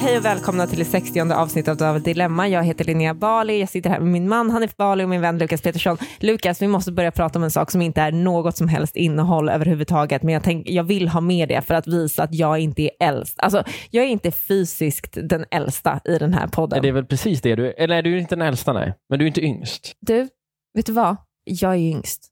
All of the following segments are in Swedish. Hej och välkomna till det 60 avsnittet av Dilemma. Jag heter Linnea Bali. Jag sitter här med min man Hanif Bali och min vän Lukas Petersson. Lukas, vi måste börja prata om en sak som inte är något som helst innehåll överhuvudtaget, men jag, tänk, jag vill ha med det för att visa att jag inte är äldst. Alltså, jag är inte fysiskt den äldsta i den här podden. Det är väl precis det du är. Eller nej, du är inte den äldsta, nej. Men du är inte yngst. Du, vet du vad? Jag är yngst.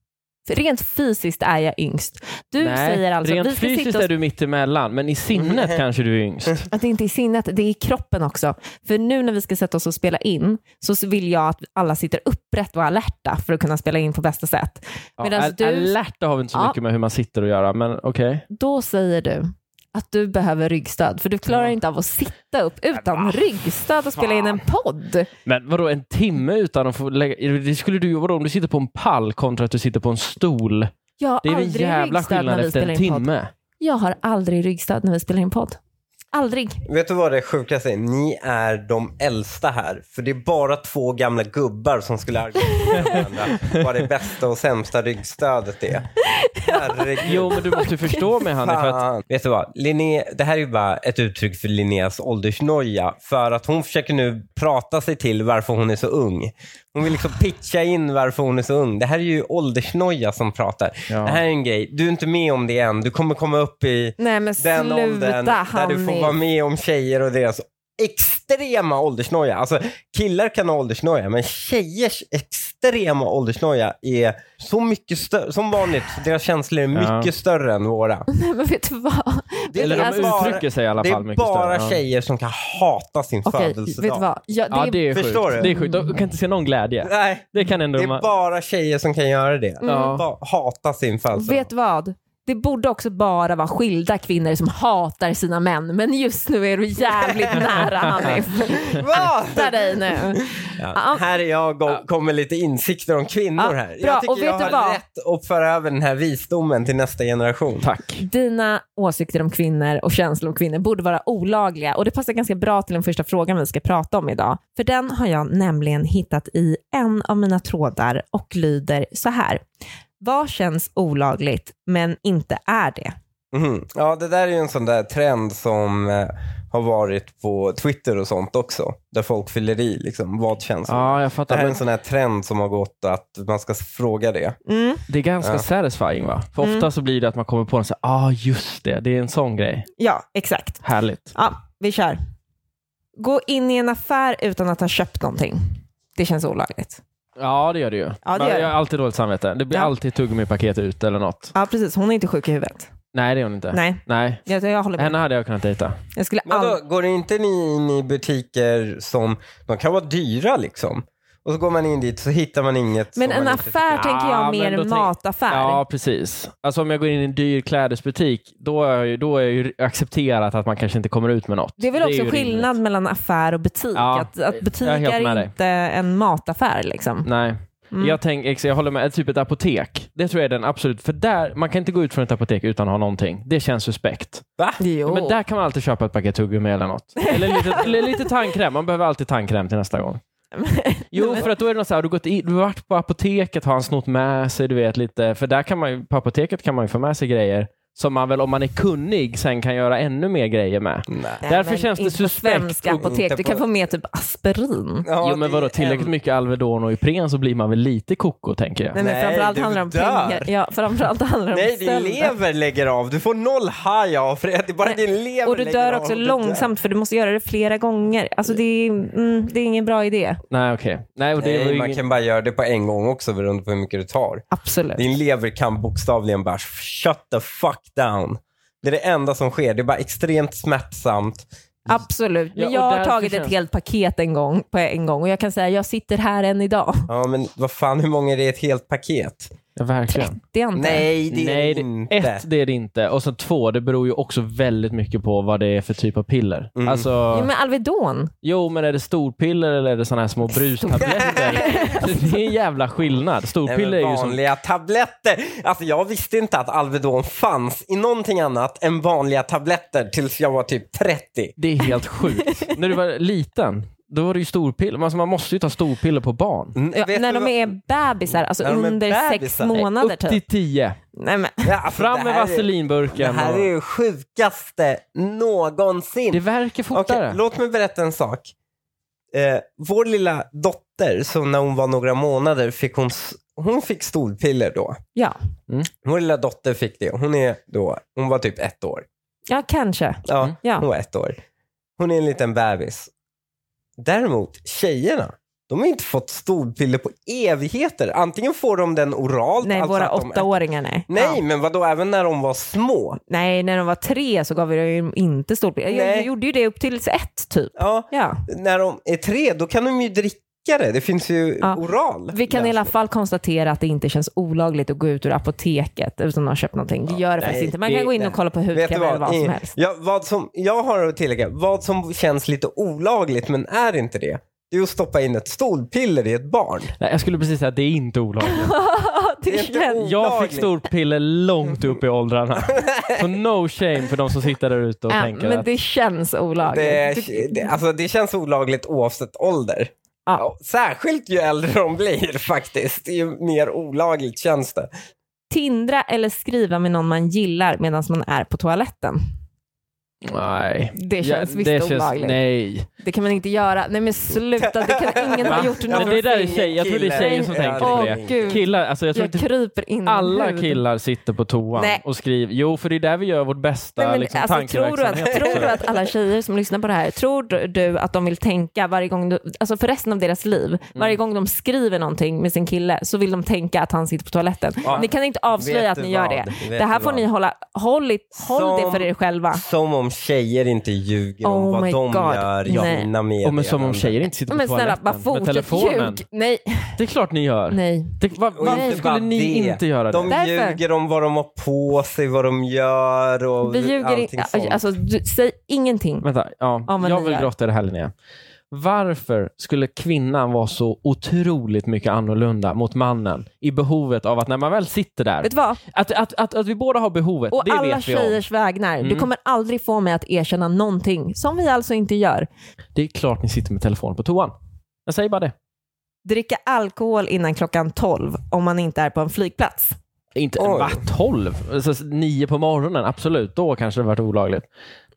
För rent fysiskt är jag yngst. Du nej, säger alltså rent vi ska fysiskt sitta och är du mittemellan, men i Mm. sinnet kanske du är yngst. Att det inte är i sinnet, det är i kroppen också. För nu när vi ska sätta oss och spela in så vill jag att alla sitter upprätt och alerta för att kunna spela in på bästa sätt. Ja, Medans al- du- Alerta har vi inte så Ja. mycket med hur man sitter att göra, men okej. Då säger du att du behöver ryggstöd för du klarar inte av att sitta upp utan ryggstöd och spela in en podd. Men vadå, en timme utan att få lägga... Det skulle du ju vadå, om du sitter på en pall kontra att du sitter på en stol. Jag har Det är väl en aldrig jävla ryggstöd när skillnad vi efter spelar en in podd. timme. Jag har aldrig ryggstöd när vi spelar in podd. Aldrig. Vet du vad det sjukaste är? Ni är de äldsta här. För det är bara två gamla gubbar som skulle argumentera med varandra vad det bästa och sämsta ryggstödet är. Herregud. Jo, men du måste ju förstå mig Hanif, för att Fan. Vet du vad? Linné, det här är ju bara ett uttryck för Linneas åldersnoja. För att hon försöker nu prata sig till varför hon är så ung. Hon vill liksom pitcha in varför hon är så ung. Det här är ju åldersnoja som pratar. Ja. Det här är en grej. Du är inte med om det än. Du kommer komma upp i Nej men den sluta åldern där du får vara Hanif. med om tjejer och deras extrema åldersnoja. Alltså killar kan ha åldersnoja men tjejers extrema åldersnoja är så mycket större, som vanligt, deras känslor är Ja. mycket större än våra. Nej men vet du vad? Det är, eller de alltså- uttrycker sig i alla det fall är mycket bara större. Ja. tjejer som kan hata sin Okej, vet födelsedag. du vad? Jag, det Ja, är- det är sjukt. Förstår du? Det är sjukt. De kan inte se någon glädje. Nej, Det kan ändå... det man- är bara Mm. tjejer som kan göra det. Ja. Ba- Hata sin födelsedag. Mm. Vet vad? Det borde också bara vara skilda kvinnor som hatar sina män, men just nu är du jävligt nära Hanif. Vad? Akta dig nu. Ja, här är jag och kommer lite insikter om kvinnor Ja, här. bra. Jag tycker Och vet jag du har vad? rätt att föra över den här visdomen till nästa generation. Tack. Dina åsikter om kvinnor och känslor om kvinnor borde vara olagliga och det passar ganska bra till den första frågan vi ska prata om idag. För den har jag nämligen hittat i en av mina trådar och lyder så här. Vad känns olagligt men inte är det? Mhm. Ja, det där är ju en sån där trend som eh, har varit på Twitter och sånt också. Där folk fyller i liksom, vad känns det? Ja, jag Det fattar. här är Men Äh. en sån här trend som har gått att man ska fråga det. Mm. Det är ganska Ja. satisfying va? För ofta så blir det att man kommer på en så här, ah just det, det är en sån grej. Ja, exakt. Härligt. Ja, vi kör. Gå in i en affär utan att ha köpt någonting. Det känns olagligt. Ja, det gör det ju. det Men gör det. Jag har alltid dåligt samvete. Det blir Ja. alltid tuggummi-paket ut eller något. Ja, precis. Hon är inte sjuk i huvudet. Nej, det är hon inte. Nej, Nej. jag, jag håller med. Henne hade jag kunnat dejta. Jag skulle Men aldrig... då, går inte ni in i butiker som de kan vara dyra liksom? Och så går man in dit så hittar man inget. Men som en man inte- affär tänker jag Ja, men mer då en tänk- mataffär. Ja, precis. Alltså om jag går in i en dyr klädesbutik, då har jag ju, då har jag ju accepterat att man kanske inte kommer ut med något. Det är väl också ju skillnad rimligt. mellan affär och butik. Ja, att, att butik jag är helt med är dig. inte en mataffär liksom. Nej. Mm. Jag, tänk, ex- jag håller med, Ett- typ ett apotek. Det tror jag är den absolut, för där, man kan inte gå ut från ett apotek utan att ha någonting. Det känns suspekt. Va? Jo. Men där kan man alltid köpa ett paket tuggummi eller något. Eller lite, eller lite tandkräm. Man behöver alltid tandkräm till nästa gång. Jo, för att då är det något så här, du, har gått in, du har varit på apoteket, har han snott med sig, du vet lite. För där kan man ju, på apoteket kan man ju få med sig grejer som man väl, om man är kunnig, sen kan göra ännu mer grejer med. Nej. Nej, därför men känns det inte på suspekt. Svenska apotek. Inte Du kan på- få med typ Aspirin. Ja, jo, men det vadå, är tillräckligt en- mycket Alvedon och Ipren så blir man väl lite koko, tänker jag. Nej, men Nej, framförallt du handlar det om dör. pengar. Ja, framförallt handlar det om Nej, din stölder. lever lägger av. Du får noll haj av för det. Det är bara Nej. din lever Och du lägger dör av också och du dör. långsamt för du måste göra det flera gånger. Alltså det är, mm, det är ingen bra idé. Nej, okej. Nej, och det var Nej, ju man ingen- kan bara göra det på en gång också beroende på hur mycket du tar. Absolut. Din lever kan bokstavligen bara shut the fuck down. Det är det enda som sker. Det är bara extremt smärtsamt. Absolut. Men Ja, och jag har därför tagit ett känns- helt paket en gång, på en gång och jag kan säga jag sitter här än idag. Ja, men vad fan, hur många är det i ett helt paket? Ja, verkligen. 30 antar jag. Nej, det är Nej, det det- inte. Ett, det är det inte. Och sen två, det beror ju också väldigt mycket på vad det är för typ av piller. Mm. Alltså, Ja, men Alvedon. Jo, men är det storpiller eller är det såna här små brustabletter? det är en jävla skillnad. Nej, men Storpiller är ju som... vanliga tabletter. Alltså jag visste inte att Alvedon fanns i någonting annat än vanliga tabletter tills jag var typ 30. Det är helt sjukt. När du var liten, då var det ju storpiller. Alltså, man måste ju ta storpiller på barn. Mm, Ja, vet när du de vad- är bebisar, alltså När de är under sex bebisar. månader Upp till typ. tio. Nej, men, Ja, alltså, Fram det med här är- Det vaselinburken. här är och- ju sjukaste någonsin. Det verkar Okej, fortare. låt mig berätta en sak. Eh, vår lilla dotter, så när hon var några månader fick hon, s- hon fick stolpiller då. ja. Vår lilla dotter fick det. Hon, är då, hon var typ ett år. ja, kanske. Ja, Mm. Ja. hon var ett år. Hon är en liten bebis. Däremot tjejerna, de har inte fått stolpiller på evigheter. Antingen får de den oralt. Nej, alltså våra att de- åttaåringar, nej. Nej, Ja. men vadå, även när de var små. Nej, när de var tre så gav vi dem inte storpiller. Jag, Nej. jag gjorde ju det upp till ett typ. Ja, Ja. när de är tre, då kan de ju dricka det. Det finns ju Ja. oral. Vi kan i alla fall konstatera att det inte känns olagligt att gå ut ur apoteket utan att ha köpt någonting. Det gör det faktiskt inte. Man det- kan gå in nej. och kolla på Vet du hudkräm eller vad I- som helst. Ja, vad som, jag har att tillägga, vad som känns lite olagligt men är inte det, det är att stoppa in ett stolpiller i ett barn. Nej, jag skulle precis säga att det är inte olagligt. Ja, det Det är inte känns- olagligt. Jag fick storpiller långt upp i åldrarna. Så no shame för de som sitter där ute och Ja, tänker men att... det känns olagligt. Det, Du- det, alltså, det känns olagligt oavsett ålder. Ja. Ja, Särskilt ju äldre de blir faktiskt, ju mer olagligt känns det. Tindra eller skriva med någon man gillar medan man är på toaletten. Nej. Det känns visst olagligt. Mm. Nej. Det kan man inte göra. Nej men sluta, det kan ingen ha Va? gjort Men någonsin. det där är tjejer. Jag tror det är tjejer som tänker Åh, på det. Gud. Killar, alltså jag tror Jag inte kryper in i alla huden. killar sitter på toan Mm, Nej. och skriver. Jo, för det är där vi gör vårt bästa Nej, men, liksom, alltså, tror, du att, tankeverksamhet. tror du att alla tjejer som lyssnar på det här, tror du att de vill tänka varje gång, du, alltså för resten av deras liv, varje gång de skriver någonting med sin kille så vill de tänka att han sitter på toaletten. Ja. Ni kan inte Vet avslöja att du ni gör vad? det. Vet Det här du får vad? ni hålla, håll, i, håll det Som- för er själva. Som om tjejer inte ljuger om Oh vad my de God. gör i Ja. sina medier. Och men som om tjejer inte sitter på Men snälla, bara toaletten med fortsätt telefonen. ljug. Nej, Det är klart ni gör. nej. Det, va, Och varför inte bara skulle ni det. inte göra det? De Därför. ljuger om vad de har på sig, vad de gör och Vi ljuger allting inte. sånt. Alltså, du, säg ingenting. Vänta, ja. Ja, men jag ni vill gör. grotta i det här Linnea. Varför skulle kvinnan vara så otroligt mycket annorlunda mot mannen i behovet av att när man väl sitter där, Vet du vad? att, att, att, att vi båda har behovet, Och det alla vet vi om. tjejers vägnar. Du Mm. kommer aldrig få mig att erkänna någonting, som vi alltså inte gör. Det är klart ni sitter med telefon på toan. Jag säger bara det. Dricka alkohol innan klockan 12 om man inte är på en flygplats. Inte, Oj. va, 12? Alltså, nio på morgonen, absolut. Då kanske det varit olagligt.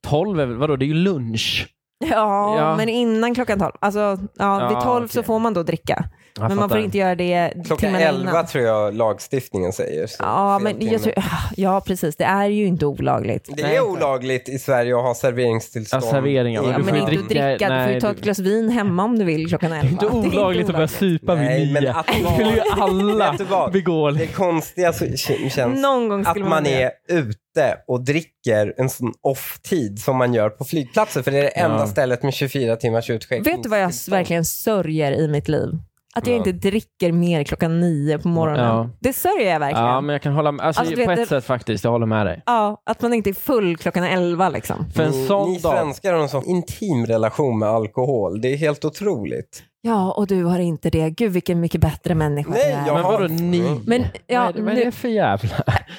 12, är väl- vadå, det är ju lunch. Ja, Ja. men innan klockan 12. Alltså, ja, Ja, vid 12 så okej. får man då dricka. Jag men man får fattar. inte göra det Klockan timmarna 11 innan. tror jag lagstiftningen säger. så Ja, fel men timme. jag tror, ja, precis. Det är ju inte olagligt. Det Nej. är olagligt i Sverige att ha serveringstillstånd. Ja, serveringar. i- du Ja, får men ju inte att dricka- dricka. Du får nej, ju ta du- ett glas vin hemma om du vill klockan 11. Det är inte olagligt att börja supa vid Nej, nio. men att Det vara- skulle ju alla Vet du vad? begå. Det konstiga så k- känns Någon gång att skulle man det. är ute och dricker en sån off-tid som man gör på flygplatser. För det är det Ja. enda stället med 24 timmars Mm. utskänkning. Vet du vad jag verkligen sörjer i mitt liv? Att jag Ja. inte dricker mer klockan 9 på morgonen. Ja. Det sörjer jag verkligen. Ja, Ja, men jag kan hålla med. Alltså, Mm. Alltså, du på vet, ett det- sätt faktiskt, jag håller med dig. att man inte är full klockan 11 liksom. För en Ni- sån Ni dag. svenskar har en sån intim relation med alkohol. Det är helt otroligt. Ja, och du har inte det. Gud, vilken mycket bättre människa Nej, du är. jag- Men vadå Jaha. ni? Men vad, ja, är det, vad är nu, det för jävla...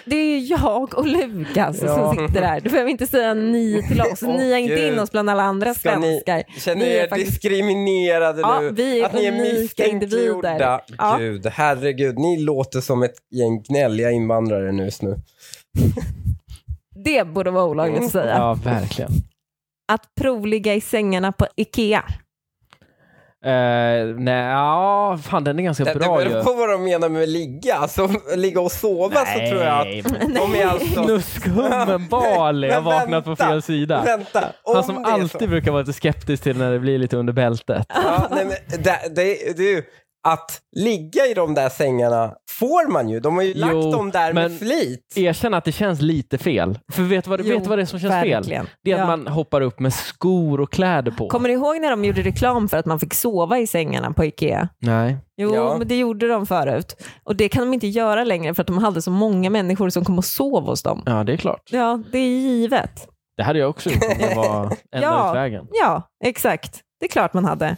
Det är ju jag och Lukas Ja. som sitter där. Du behöver inte säga ni till oss. Åh, Ni har inte in Gud. oss bland alla andra Ska ni- svenskar. Känner Ni ni är er faktiskt- diskriminerade Ja, nu? vi är att ni är unika misstänkliggjorda? individer. Ja. Gud, herregud. Ni låter som ett gäng gnälliga invandrare nu. nu. Det borde vara olagligt att säga. Mm. Ja, verkligen. Att provligga i sängarna på Ikea. Eh, nej, ja, fan den är ganska Det, det bra ju. beror på vad de menar med ligga. Alltså, ligga och sova så tror jag att de är alltså... Knuskhummen Bali har Men vaknat på vänta, fel sida. Vänta, om Han som det är alltid så. brukar vara lite skeptisk till när det blir lite under bältet. Ja, nej, men det, det, det är ju att ligga i de där sängarna får man ju. De har ju Jo, lagt dem där men- med flit. Erkänn att det känns lite fel. För vet du vad, Jo, vet du vad det är som känns fel? Verkligen. Det är att Ja. man hoppar upp med skor och kläder på. Kommer du ihåg när de gjorde reklam för att man fick sova i sängarna på Ikea? Nej. Jo, Ja. men det gjorde de förut. Och det kan de inte göra längre för att de hade så många människor som kom och sov hos dem. Ja, det är klart. Ja, det är givet. Det hade jag också gjort om det var enda Ja. utvägen. Ja, exakt. Det är klart man hade.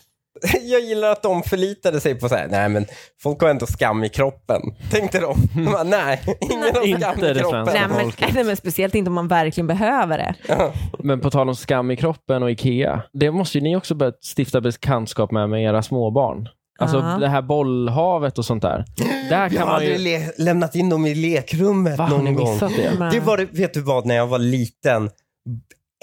Jag gillar att de förlitade sig på så här, nej men folk har ändå skam i kroppen. Tänkte de. de bara, nej, ingen har Inte skam det i kroppen. svenska Nej men, folket. nej, men speciellt inte om man verkligen behöver det. Men på tal om skam i kroppen och IKEA. Det måste ju ni också börja stifta bekantskap med, med era småbarn. Alltså Ja. det här bollhavet och sånt där. Där Jag kan har man aldrig ju... le- lämnat in dem i lekrummet Va, har ni någon gång. missat det? Men- Det var, det- vet du vad, när jag var liten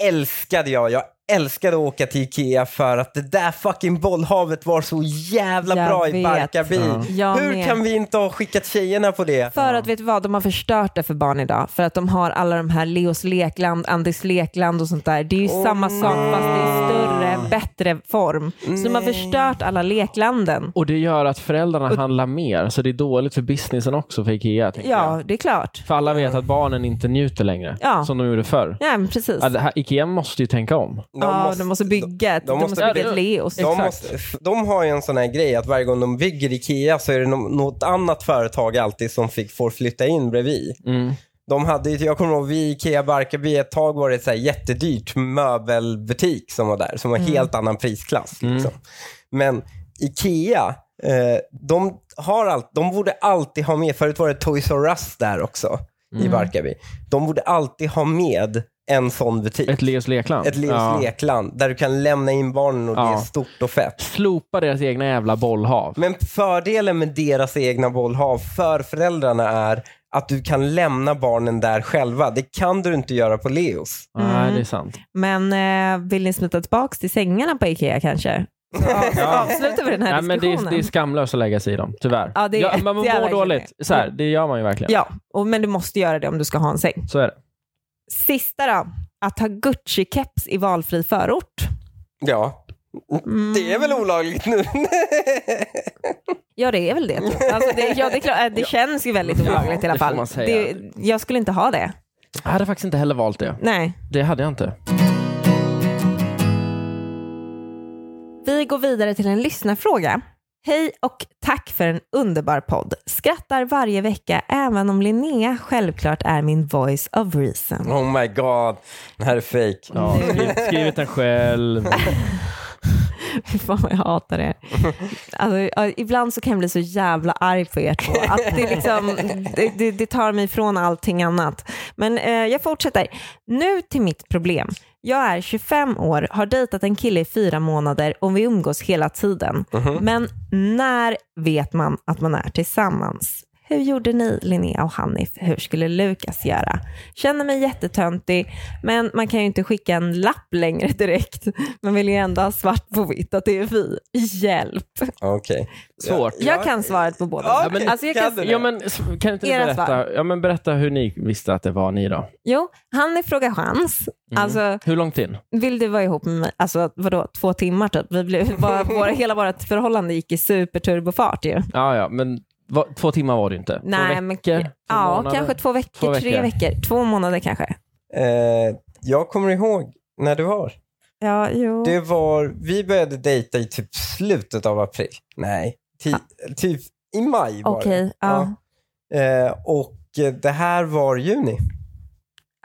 älskade jag, jag älskade att åka till Ikea för att det där fucking bollhavet var så jävla Jag bra i vet. Barkarby. Jag Hur med. kan vi inte ha skickat tjejerna på det? För att vet du vad, de har förstört det för barn idag. För att de har alla de här Leos Lekland, Anders Lekland och sånt där. Det är ju samma sak fast i större, bättre form. Så de har förstört alla leklanden. Och det gör att föräldrarna handlar mer, så det är dåligt för businessen också för IKEA. tänker jag. Ja, det är klart. För alla vet att barnen inte njuter längre, Eh. Ja. som de gjorde förr. Ja, men precis. Ja, det här, IKEA måste ju tänka om. De ja, de måste bygga ett, de, de måste måste bygga ett bygga- Leos. De, Exakt. måste, f- de har ju en sån här grej att varje gång de bygger Ikea så är det no- något annat företag alltid som fick, får flytta in bredvid. Mm. De hade, ju- jag kommer ihåg, vid Ikea Barkarby ett tag var det ett så här jättedyrt möbelbutik som var där, som var helt annan prisklass. Mm. Liksom. Men Ikea, eh, de, har allt, de borde alltid ha med, förut var det Toys R Us där också Mm. i Barkarby. De borde alltid ha med en sån butik. Ett Leos lekland. Ett Leos Ja. lekland där du kan lämna in barnen och det Ja. är stort och fett. Slopa deras egna jävla bollhav. Men fördelen med deras egna bollhav för föräldrarna är att du kan lämna barnen där själva. Det kan du inte göra på Leos. Nej, Mm. det är sant. Men eh, vill ni smita tillbaka till sängarna på Ikea kanske? Så avslutar vi den här Nej, men det, diskussionen. är, det är skamlöst att lägga sig i dem, tyvärr. Ja, det är men man jävla mår dåligt. Så här, det gör man ju verkligen. Ja, och, men du måste göra det om du ska ha en säng. Så är det. Sista då, att ha Gucci-keps i valfri förort. Ja, det är väl olagligt nu. Ja, det är väl det. typ. Alltså det, ja, det, är klart, eh, det känns ju väldigt olagligt i alla det får fall. man säga. Det- jag skulle inte ha det. Jag hade faktiskt inte heller valt det. Nej. Det hade jag inte. Vi går vidare till en lyssnarfråga. Hej och tack för en underbar podd. Skrattar varje vecka även om Linnea självklart är min voice of reason. oh my god, det här är fejk. Ja, Mm. skrivit, skrivit den själv. Fy fan vad jag hatar er. Alltså, ja, ibland så kan jag bli så jävla arg på er två. Att det, liksom, det, det, det tar mig ifrån allting annat. Men eh, jag fortsätter. Nu till mitt problem. Jag är 25 år, har dejtat en kille i fyra månader och vi umgås hela tiden. Men när vet man att man är tillsammans? Hur gjorde ni, Linnea och Hanif? Hur skulle Lukas göra? Känner mig jättetöntig, men man kan ju inte skicka en lapp längre direkt. Man vill ju ändå ha svart på vitt att det är vi. Hjälp! Okej. Svårt. Ja. Jag kan svaret på båda. Ja, men- alltså jag kan, kan du? Ja, men, s- kan inte ni Era berätta, svar. ja, men berätta hur ni visste att det var ni då? jo, Hanif frågar chans. Mm. Alltså, Hur långt in? vill du vara ihop med mig? Alltså, vadå, två timmar typ? Vi blev, bara, våra, hela vårt förhållande gick i superturbofart ju. Ja, ja, men va, två timmar var det ju inte. Två Nej, veckor? men- Två Ja, månader? kanske två veckor, Två tre veckor. veckor, två månader kanske. Eh, jag kommer ihåg när det var. Ja, jo. Det var, vi började dejta i typ slutet av april. Nej, ti, typ i maj var det. Okej, ja. Eh, och eh, det här var juni.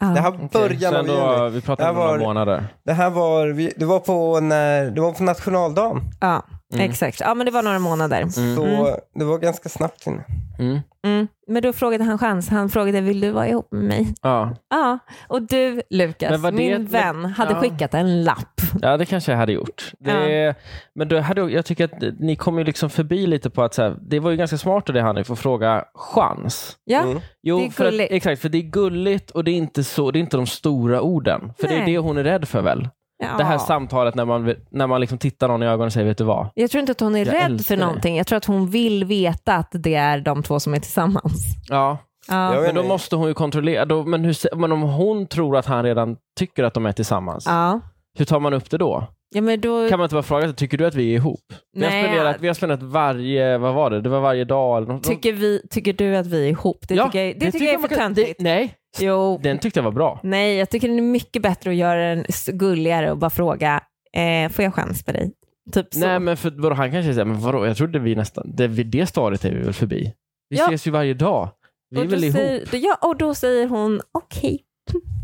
ja. Det här Okej, början så av juni. ändå, Vi pratar Det om här några var- månader. Det här var, vi- det var på, när, det var på nationaldagen. Ja, Mm. exakt. Ja, men det var några månader. Så det var ganska snabbt innan. Mm. Mm. Men då frågade han chans. Han frågade, vill du vara ihop med mig? Ja. Ja, och du Lukas, Men var det min ett- vän, hade Ja. skickat en lapp. ja, det kanske jag hade gjort. Det, Men då hade, jag- jag tycker att ni kom ju liksom förbi lite på att så här, det var ju ganska smart av det Hanif att fråga chans. Ja, Mm. Jo, Det är för att, gulligt. exakt, för det är gulligt och det är inte, så, det är inte de stora orden. För det är Nej. det hon är rädd för väl? ja. Det här samtalet när man, när man liksom tittar någon i ögonen och säger vet du vad? jag tror inte att hon är Jag rädd älskar för dig. någonting. Jag tror att hon vill veta att det är de två som är tillsammans. Ja, Ja, Jag vet men då inte. måste hon ju kontrollera. Då, men, hur, se- men om hon tror att han redan tycker att de är tillsammans, ja. hur tar man upp det då? ja men då... Kan man inte bara fråga, tycker du att vi är ihop? Vi har, Nej, spenderat, vi har spenderat varje, vad var det, det var varje dag eller något. Tycker, vi, tycker du att vi är ihop? Det Ja, tycker jag, det tycker jag är för man kan- töntigt. det- Nej, Jo, den tyckte jag var bra. nej, jag tycker det är mycket bättre att göra den s- gulligare och bara fråga, eh, får jag chans på dig? Typ så. Nej, men för, vadå, han kanske säger, men vadå, jag trodde vi nästan, det, vid det stadiet är vi väl förbi. Vi Ja. ses ju varje dag. Vi är och, då väl ihop. säger, ja, och då säger hon okej.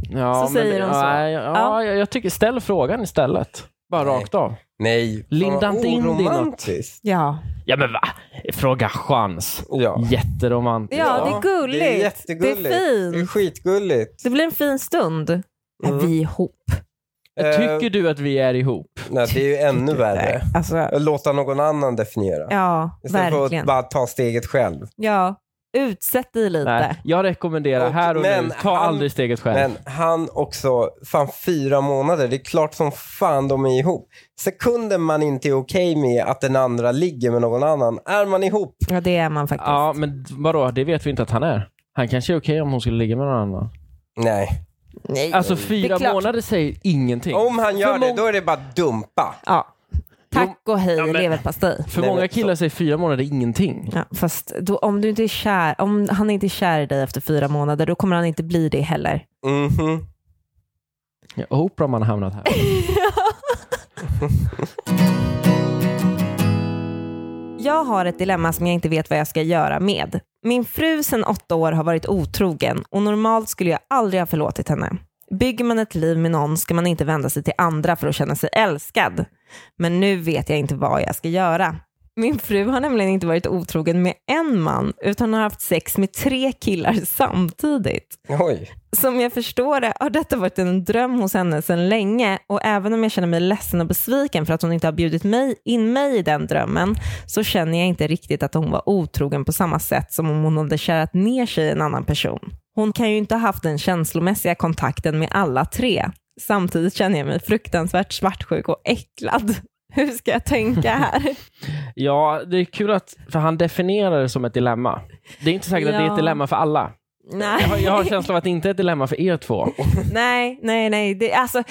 Ja, så men- säger hon så. nej, Ja, Ja. Jag, jag tycker, ställ frågan istället. Bara Nej. rakt av. Nej, Linda fan vad inte in det i något. oromantiskt. Ja. Ja, men va? Fråga chans. Ja. Jätteromantiskt. Ja, det är gulligt. Det är jättegulligt. Det är fint. Det är skitgulligt. Det blir en fin stund. Är Mm. vi ihop? Tycker du att vi är ihop? Eh, nej, det är ju ännu värre. Alltså, Att Låta någon annan definiera. ja, Istället för verkligen. att bara ta steget själv. Ja. Utsätt dig lite. Nej, jag rekommenderar Och- här och men nu, ta han- aldrig steget själv. Men han också, fan fyra månader, det är klart som fan de är ihop. Sekunden man inte är okej med att den andra ligger med någon annan, är man ihop. Ja, det är man faktiskt. Ja, men vadå? Det vet vi inte att han är. Han kanske är okej om hon skulle ligga med någon annan. Nej. Nej. Alltså Det är fyra klart. månader säger ingenting. Om han gör För det, mång- då är det bara dumpa. ja. Tack och hej, men- leverpastej. För Nej, många men- killar säger fyra månader är ingenting. Ja, fast då, om, du inte är kär, om han inte är kär i dig efter fyra månader, då kommer han inte bli det heller. Mhm. Ja, Oprah man har hamnat här. Jag har ett dilemma som jag inte vet vad jag ska göra med. Min fru sedan åtta år har varit otrogen och normalt skulle jag aldrig ha förlåtit henne. Bygger man ett liv med någon ska man inte vända sig till andra för att känna sig älskad. Men nu vet jag inte vad jag ska göra. Min fru har nämligen inte varit otrogen med en man utan har haft sex med tre killar samtidigt. Oj. Som jag förstår det har detta varit en dröm hos henne sedan länge och även om jag känner mig ledsen och besviken för att hon inte har bjudit mig, in mig i den drömmen så känner jag inte riktigt att hon var otrogen på samma sätt som om hon hade kärat ner sig i en annan person. Hon kan ju inte ha haft den känslomässiga kontakten med alla tre. Samtidigt känner jag mig fruktansvärt svartsjuk och äcklad. Hur ska jag tänka här? Ja, det är kul att för han definierar det som ett dilemma. Det är inte säkert att det är Ja. ett dilemma för alla. Jag har, Nej, jag har en känsla av att det inte är ett dilemma för er två. nej, nej, nej. Det, alltså,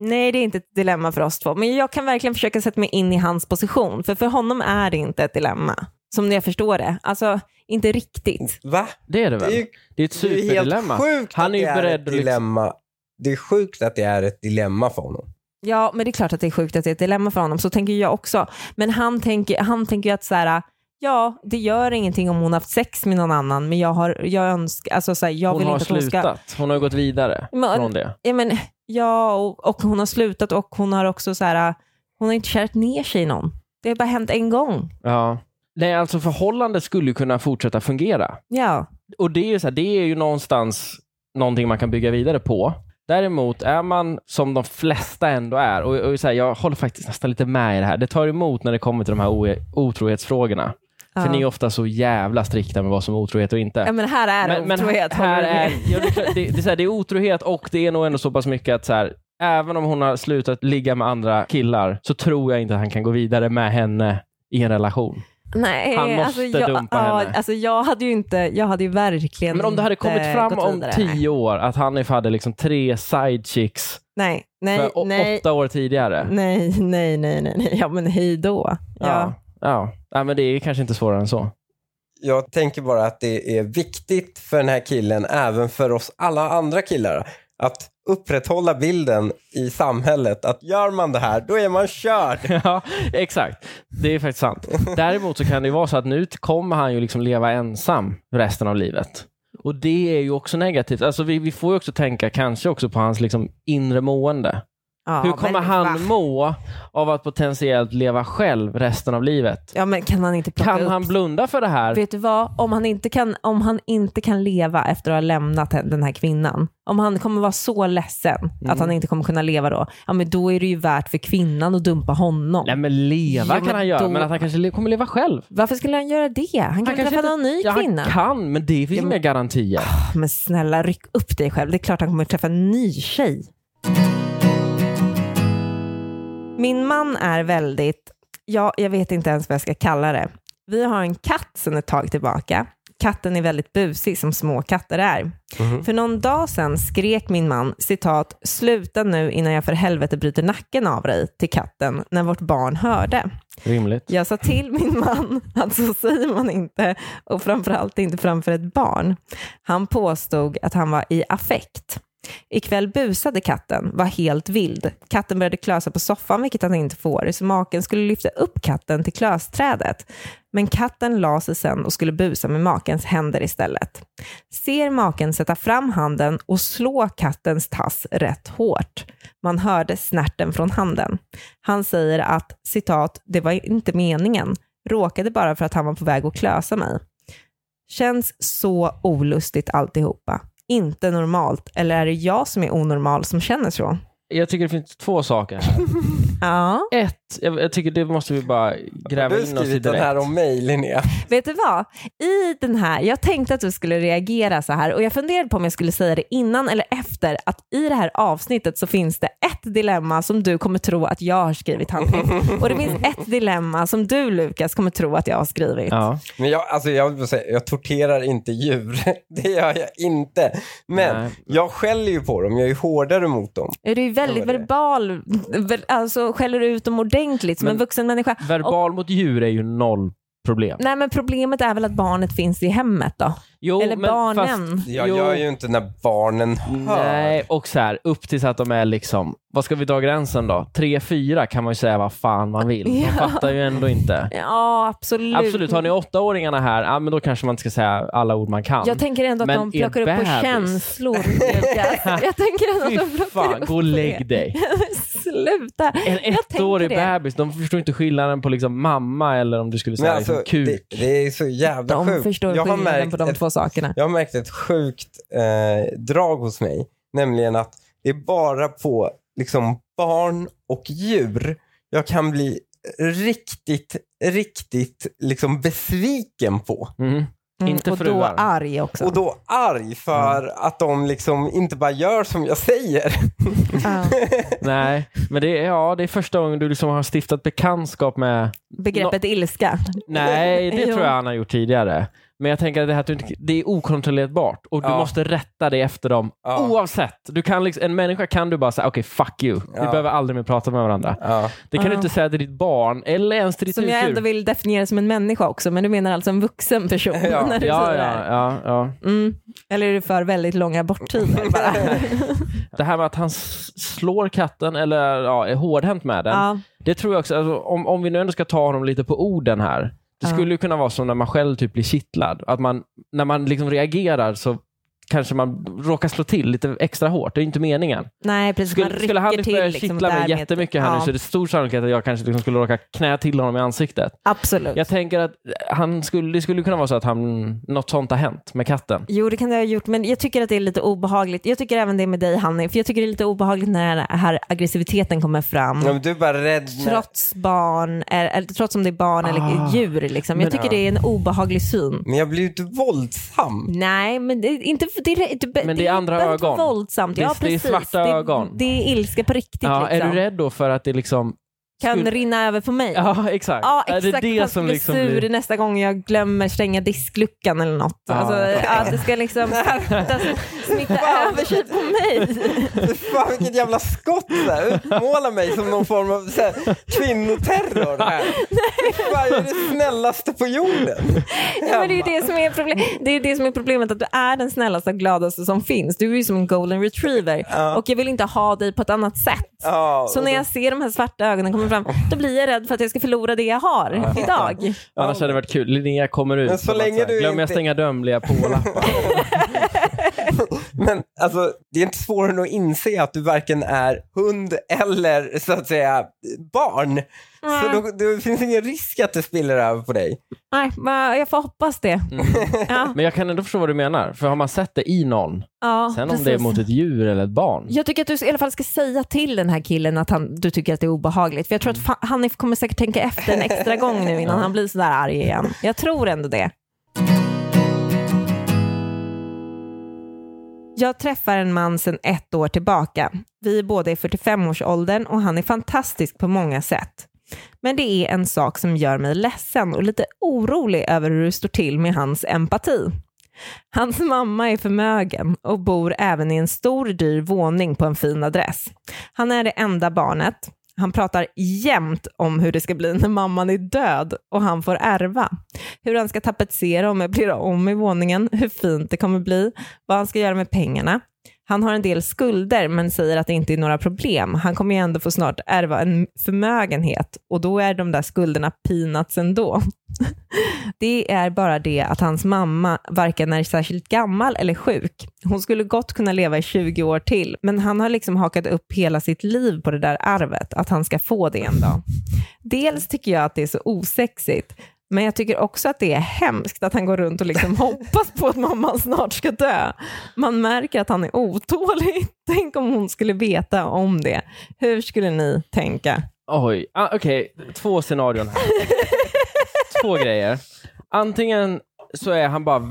nej, det är inte ett dilemma för oss två. Men jag kan verkligen försöka sätta mig in i hans position. För för honom är det inte ett dilemma, som jag förstår det. Alltså, inte riktigt. Va? Det är det Det är väl? ju Det är ett det är ju superdilemma. helt sjukt Han är ju att det är beredd ett att liksom... dilemma. Det är sjukt att det är ett dilemma för honom. Ja, men det är klart att det är sjukt att det är ett dilemma för honom. Så tänker jag också. Men han tänker, han tänker ju att så här, ja, det gör ingenting om hon haft sex med någon annan, men jag, har, jag önskar, alltså så här, jag Hon vill har inte att hon ska... slutat. Hon har ju gått vidare Men- från det. Ja, men, ja och, och hon har slutat och hon har också så här, hon har inte kärat ner sig i någon. Det har bara hänt en gång. Ja. Nej, alltså förhållandet skulle ju kunna fortsätta fungera. Ja. Och det är, ju så här, det är ju någonstans någonting man kan bygga vidare på. Däremot är man som de flesta ändå är, och, och så här, jag håller faktiskt nästan lite med i det här. Det tar emot när det kommer till de här o- otrohetsfrågorna. ja. För ni är ofta så jävla strikta med vad som är otrohet och inte. Ja, men här är det otrohet. här håller du är, med? ja, det, är klart, det, det, är så här, det är otrohet och det är nog ändå så pass mycket att så här, även om hon har slutat ligga med andra killar så tror jag inte att han kan gå vidare med henne i en relation. Nej, Han måste alltså, jag, dumpa ja, henne. Alltså, jag hade ju inte, jag hade ju verkligen Men om det hade inte kommit fram gått om vidare. tio år att Hanif hade liksom tre side chicks Nej, nej, för o- nej, åtta år tidigare. nej, nej, nej, nej, nej, ja men hej då. Ja. Ja. ja. Nej, men det är kanske inte svårare än så. Jag tänker bara att det är viktigt för den här killen, även för oss alla andra killar, att upprätthålla bilden i samhället att gör man det här, då är man körd. ja, exakt. Det är faktiskt sant. Däremot så kan det ju vara så att nu kommer han ju liksom leva ensam resten av livet. Och det är ju också negativt. Alltså vi, vi får ju också tänka kanske också på hans liksom inre mående. Ja, Hur kommer men han va? må av att potentiellt leva själv resten av livet? Ja men kan han inte plocka Kan upp han blunda för det här? Vet du vad, om han, inte kan, om han inte kan leva efter att ha lämnat hen- den här kvinnan, om han kommer vara så ledsen att Mm. han inte kommer kunna leva då, ja men då är det ju värt för kvinnan att dumpa honom. Nej men leva Ja, kan men han göra, då- men att han kanske le- kommer leva själv. Varför skulle han göra det? Han kan Han väl träffa någon ny ja, kvinna? Han kan, men det finns Ja, inga men- garantier. Men snälla, ryck upp dig själv. Det är klart han kommer träffa en ny tjej. Min man är väldigt, ja, jag vet inte ens vad jag ska kalla det. Vi har en katt sedan ett tag tillbaka. Katten är väldigt busig som små katter är. För någon dag sedan skrek min man, citat, sluta nu innan jag för helvete bryter nacken av dig till katten när vårt barn hörde. Rimligt. Jag sa till min man att så säger man inte och framförallt inte framför ett barn. Han påstod att han var i affekt. Ikväll busade katten, var helt vild. Katten började klösa på soffan, vilket han inte får, så maken skulle lyfta upp katten till klösträdet. Men katten la sig sen och skulle busa med makens händer istället. Ser maken sätta fram handen och slå kattens tass rätt hårt. Man hörde snärten från handen. Han säger att, citat, det var inte meningen, råkade bara för att han var på väg att klösa mig. Känns så olustigt alltihopa. Inte normalt, eller är det jag som är onormal som känner så? Jag tycker det finns två saker här. Ja. Ett, jag, jag tycker det måste vi bara gräva in Du har oss i direkt. skrivit den här om mig, Linnea. Vet du vad? I den här, jag tänkte att du skulle reagera så här och jag funderade på om jag skulle säga det innan eller efter att i det här avsnittet så finns det ett dilemma som du kommer tro att jag har skrivit Hanif och det finns ett dilemma som du Lukas kommer tro att jag har skrivit. Ja. Men jag, alltså jag, vill säga, jag torterar inte djur. Det gör jag inte. Men Nej. jag skäller ju på dem. Jag är ju hårdare mot dem. Du är ju väldigt Det var det. verbal, ver- alltså skäller ut dem ordentligt som Men- en vuxen människa. Verbal mot djur är ju noll problem. Nej men problemet är väl att barnet finns i hemmet då? Jo, Eller men barnen. Fast, Jag jo, gör ju inte när barnen Mm, hör. Nej, och så här, upp tills att de är liksom, vad ska vi dra gränsen då? Tre, fyra kan man ju säga vad fan man vill. De Ja. fattar ju ändå inte. Ja absolut. Absolut, har ni åttaåringarna här, ja, men då kanske man inte ska säga alla ord man kan. Jag tänker ändå att Men de er plockar upp på bebis- känslor. Lukas. jag tänker ändå att de Fy plockar fan, upp gå och på lägg det. dig. Men Sluta. En Jag tänker ettårig det. bebis, de förstår inte skillnaden på liksom mamma eller om du skulle Men säga alltså, liksom kuk. det, det är så jävla De sjukt. förstår jag har skillnaden märkt på de ett, två sakerna. Jag har märkt ett sjukt eh, drag hos mig. Nämligen att det är bara på liksom, barn och djur jag kan bli riktigt, riktigt liksom besviken på. Mm. Mm, Inte och då fruar. arg också. Och då arg för att de liksom inte bara gör som jag säger. Ja. Nej, men det är, ja, det är första gången du liksom har stiftat bekantskap med... Begreppet ilska. Nej, det Jo. tror jag han har gjort tidigare. Men jag tänker att det, här, att du inte- det är okontrollerbart och du Ja. måste rätta dig efter dem Ja. oavsett. Du kan liksom, en människa kan du bara säga, okej, fuck you. Vi Ja. behöver aldrig mer prata med varandra. Ja. Det kan Ja. du inte säga till ditt barn eller ens till ditt Som jag husdjur. ändå vill definiera som en människa också, men du menar alltså en vuxen person Ja. när du ja, säger det ja, här. ja, ja. Mm. Eller är du för väldigt långa borttider bara? Det här med att han s- slår katten eller ja, är hårdhänt med den. ja. Det tror jag också, alltså, om, om vi nu ändå ska ta honom lite på orden här. Det Ja. skulle ju kunna vara som när man själv typ blir kittlad. Att man, när man liksom reagerar så kanske man råkar slå till lite extra hårt. Det är ju inte meningen. Nej, precis. man Skulle, rycker skulle han till, börja liksom, kittla mig därmed. jättemycket här nu ja. så är det stor sannolikhet att jag kanske liksom skulle råka knä till honom i ansiktet. Absolut. Jag tänker att han skulle, det skulle kunna vara så att han, något sånt har hänt med katten. Jo, det kan det ha gjort, men jag tycker att det är lite obehagligt. Jag tycker även det med dig, Hanni, för jag tycker det är lite obehagligt när den här aggressiviteten kommer fram. Ja, men du är bara rädd. när- Trots barn, eller, eller trots om det är barn Ah. eller djur. Liksom. Men- Mm. Jag tycker det är en obehaglig syn. Men jag blir ju inte våldsam. Nej, men det är inte... Det är, det, Men det är andra behöver inte vara ögon. Våldsamt. Det är- ja, det är precis. svarta det, ögon. Det är ilska på riktigt. Ja, liksom. Är du rädd då för att det liksom... Kan skulle- rinna över på mig. Ja, exakt. Ja, exakt. Är det det Fast som blir liksom sur blir... nästa gång jag glömmer stänga diskluckan eller något. Ja. Alltså, ja, det ska liksom smitta, smitta över sig på mig. Fan vilket jävla skott så här. Utmåla mig som någon form av så här, kvinnoterror här. Fan, jag är det snällaste på jorden. Ja, men det är ju det som är, problem. det är ju det som är problemet, att du är den snällaste och gladaste som finns. Du är ju som en golden retriever Ja. och jag vill inte ha dig på ett annat sätt. Ja, Så och när då- jag ser de här svarta ögonen komma fram, då blir jag rädd för att jag ska förlora det jag har idag. Annars hade det varit kul. Linnea kommer ut. Men så och bara länge här, du Glöm jag inte- stänga dömliga på lappar. Men alltså, det är inte svårare än att inse att du varken är hund eller så att säga barn. Så då, det finns ingen risk att det spiller över på dig. Nej, men jag får hoppas det. Mm. Ja, Men jag kan ändå förstå vad du menar. För har man sett det i någon, ja, sen om precis. det är mot ett djur eller ett barn. Jag tycker att du i alla fall ska säga till den här killen att han, du tycker att det är obehagligt. För jag tror att fa- Hanif kommer säkert tänka efter en extra gång nu innan han blir sådär arg igen. Jag tror ändå det. Jag träffar en man sedan ett år tillbaka. Vi är båda i 45-årsåldern och han är fantastisk på många sätt. Men det är en sak som gör mig ledsen och lite orolig över hur det står till med hans empati. Hans mamma är förmögen och bor även i en stor dyr våning på en fin adress. Han är det enda barnet. Han pratar jämt om hur det ska bli när mamman är död och han får ärva. Hur han ska tapetsera och möblera om i våningen, hur fint det kommer bli, vad han ska göra med pengarna. Han har en del skulder men säger att det inte är några problem. Han kommer ju ändå få snart ärva en förmögenhet och då är de där skulderna peanuts ändå. Det är bara det att hans mamma varken är särskilt gammal eller sjuk. Hon skulle gott kunna leva i 20 år till, men han har liksom hakat upp hela sitt liv på det där arvet, att han ska få det en dag. Dels tycker jag att det är så osexigt, men jag tycker också att det är hemskt att han går runt och liksom hoppas på att mamman snart ska dö. Man märker att han är otålig. Tänk om hon skulle veta om det. Hur skulle ni tänka? Oj, ah, okej. Två scenarion här. Två grejer. Antingen så är han bara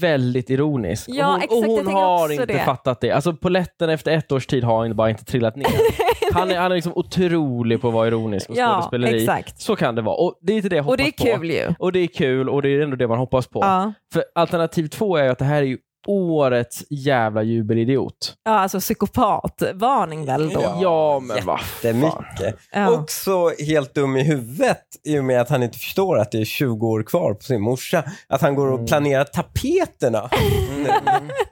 väldigt ironisk. Ja, och hon, exakt, och jag hon tänker har också inte det. fattat det. Alltså Poletten efter ett års tid har han bara inte trillat ner. Han är, han är liksom otrolig på att vara ironisk och Ja, skådespeleri. exakt. Så kan det vara. Och det är inte det jag hoppas Och det är på. kul ju. Och det är kul och det är ändå det man hoppas på. Ja, För alternativ två är ju att det här är ju årets jävla jubelidiot. ja alltså psykopatvarning väl då. Ja, men vad Det är fan. mycket. Ja. Också helt dum i huvudet i och med att han inte förstår att det är 20 år kvar på sin morsa. Att han Mm. går och planerar tapeterna.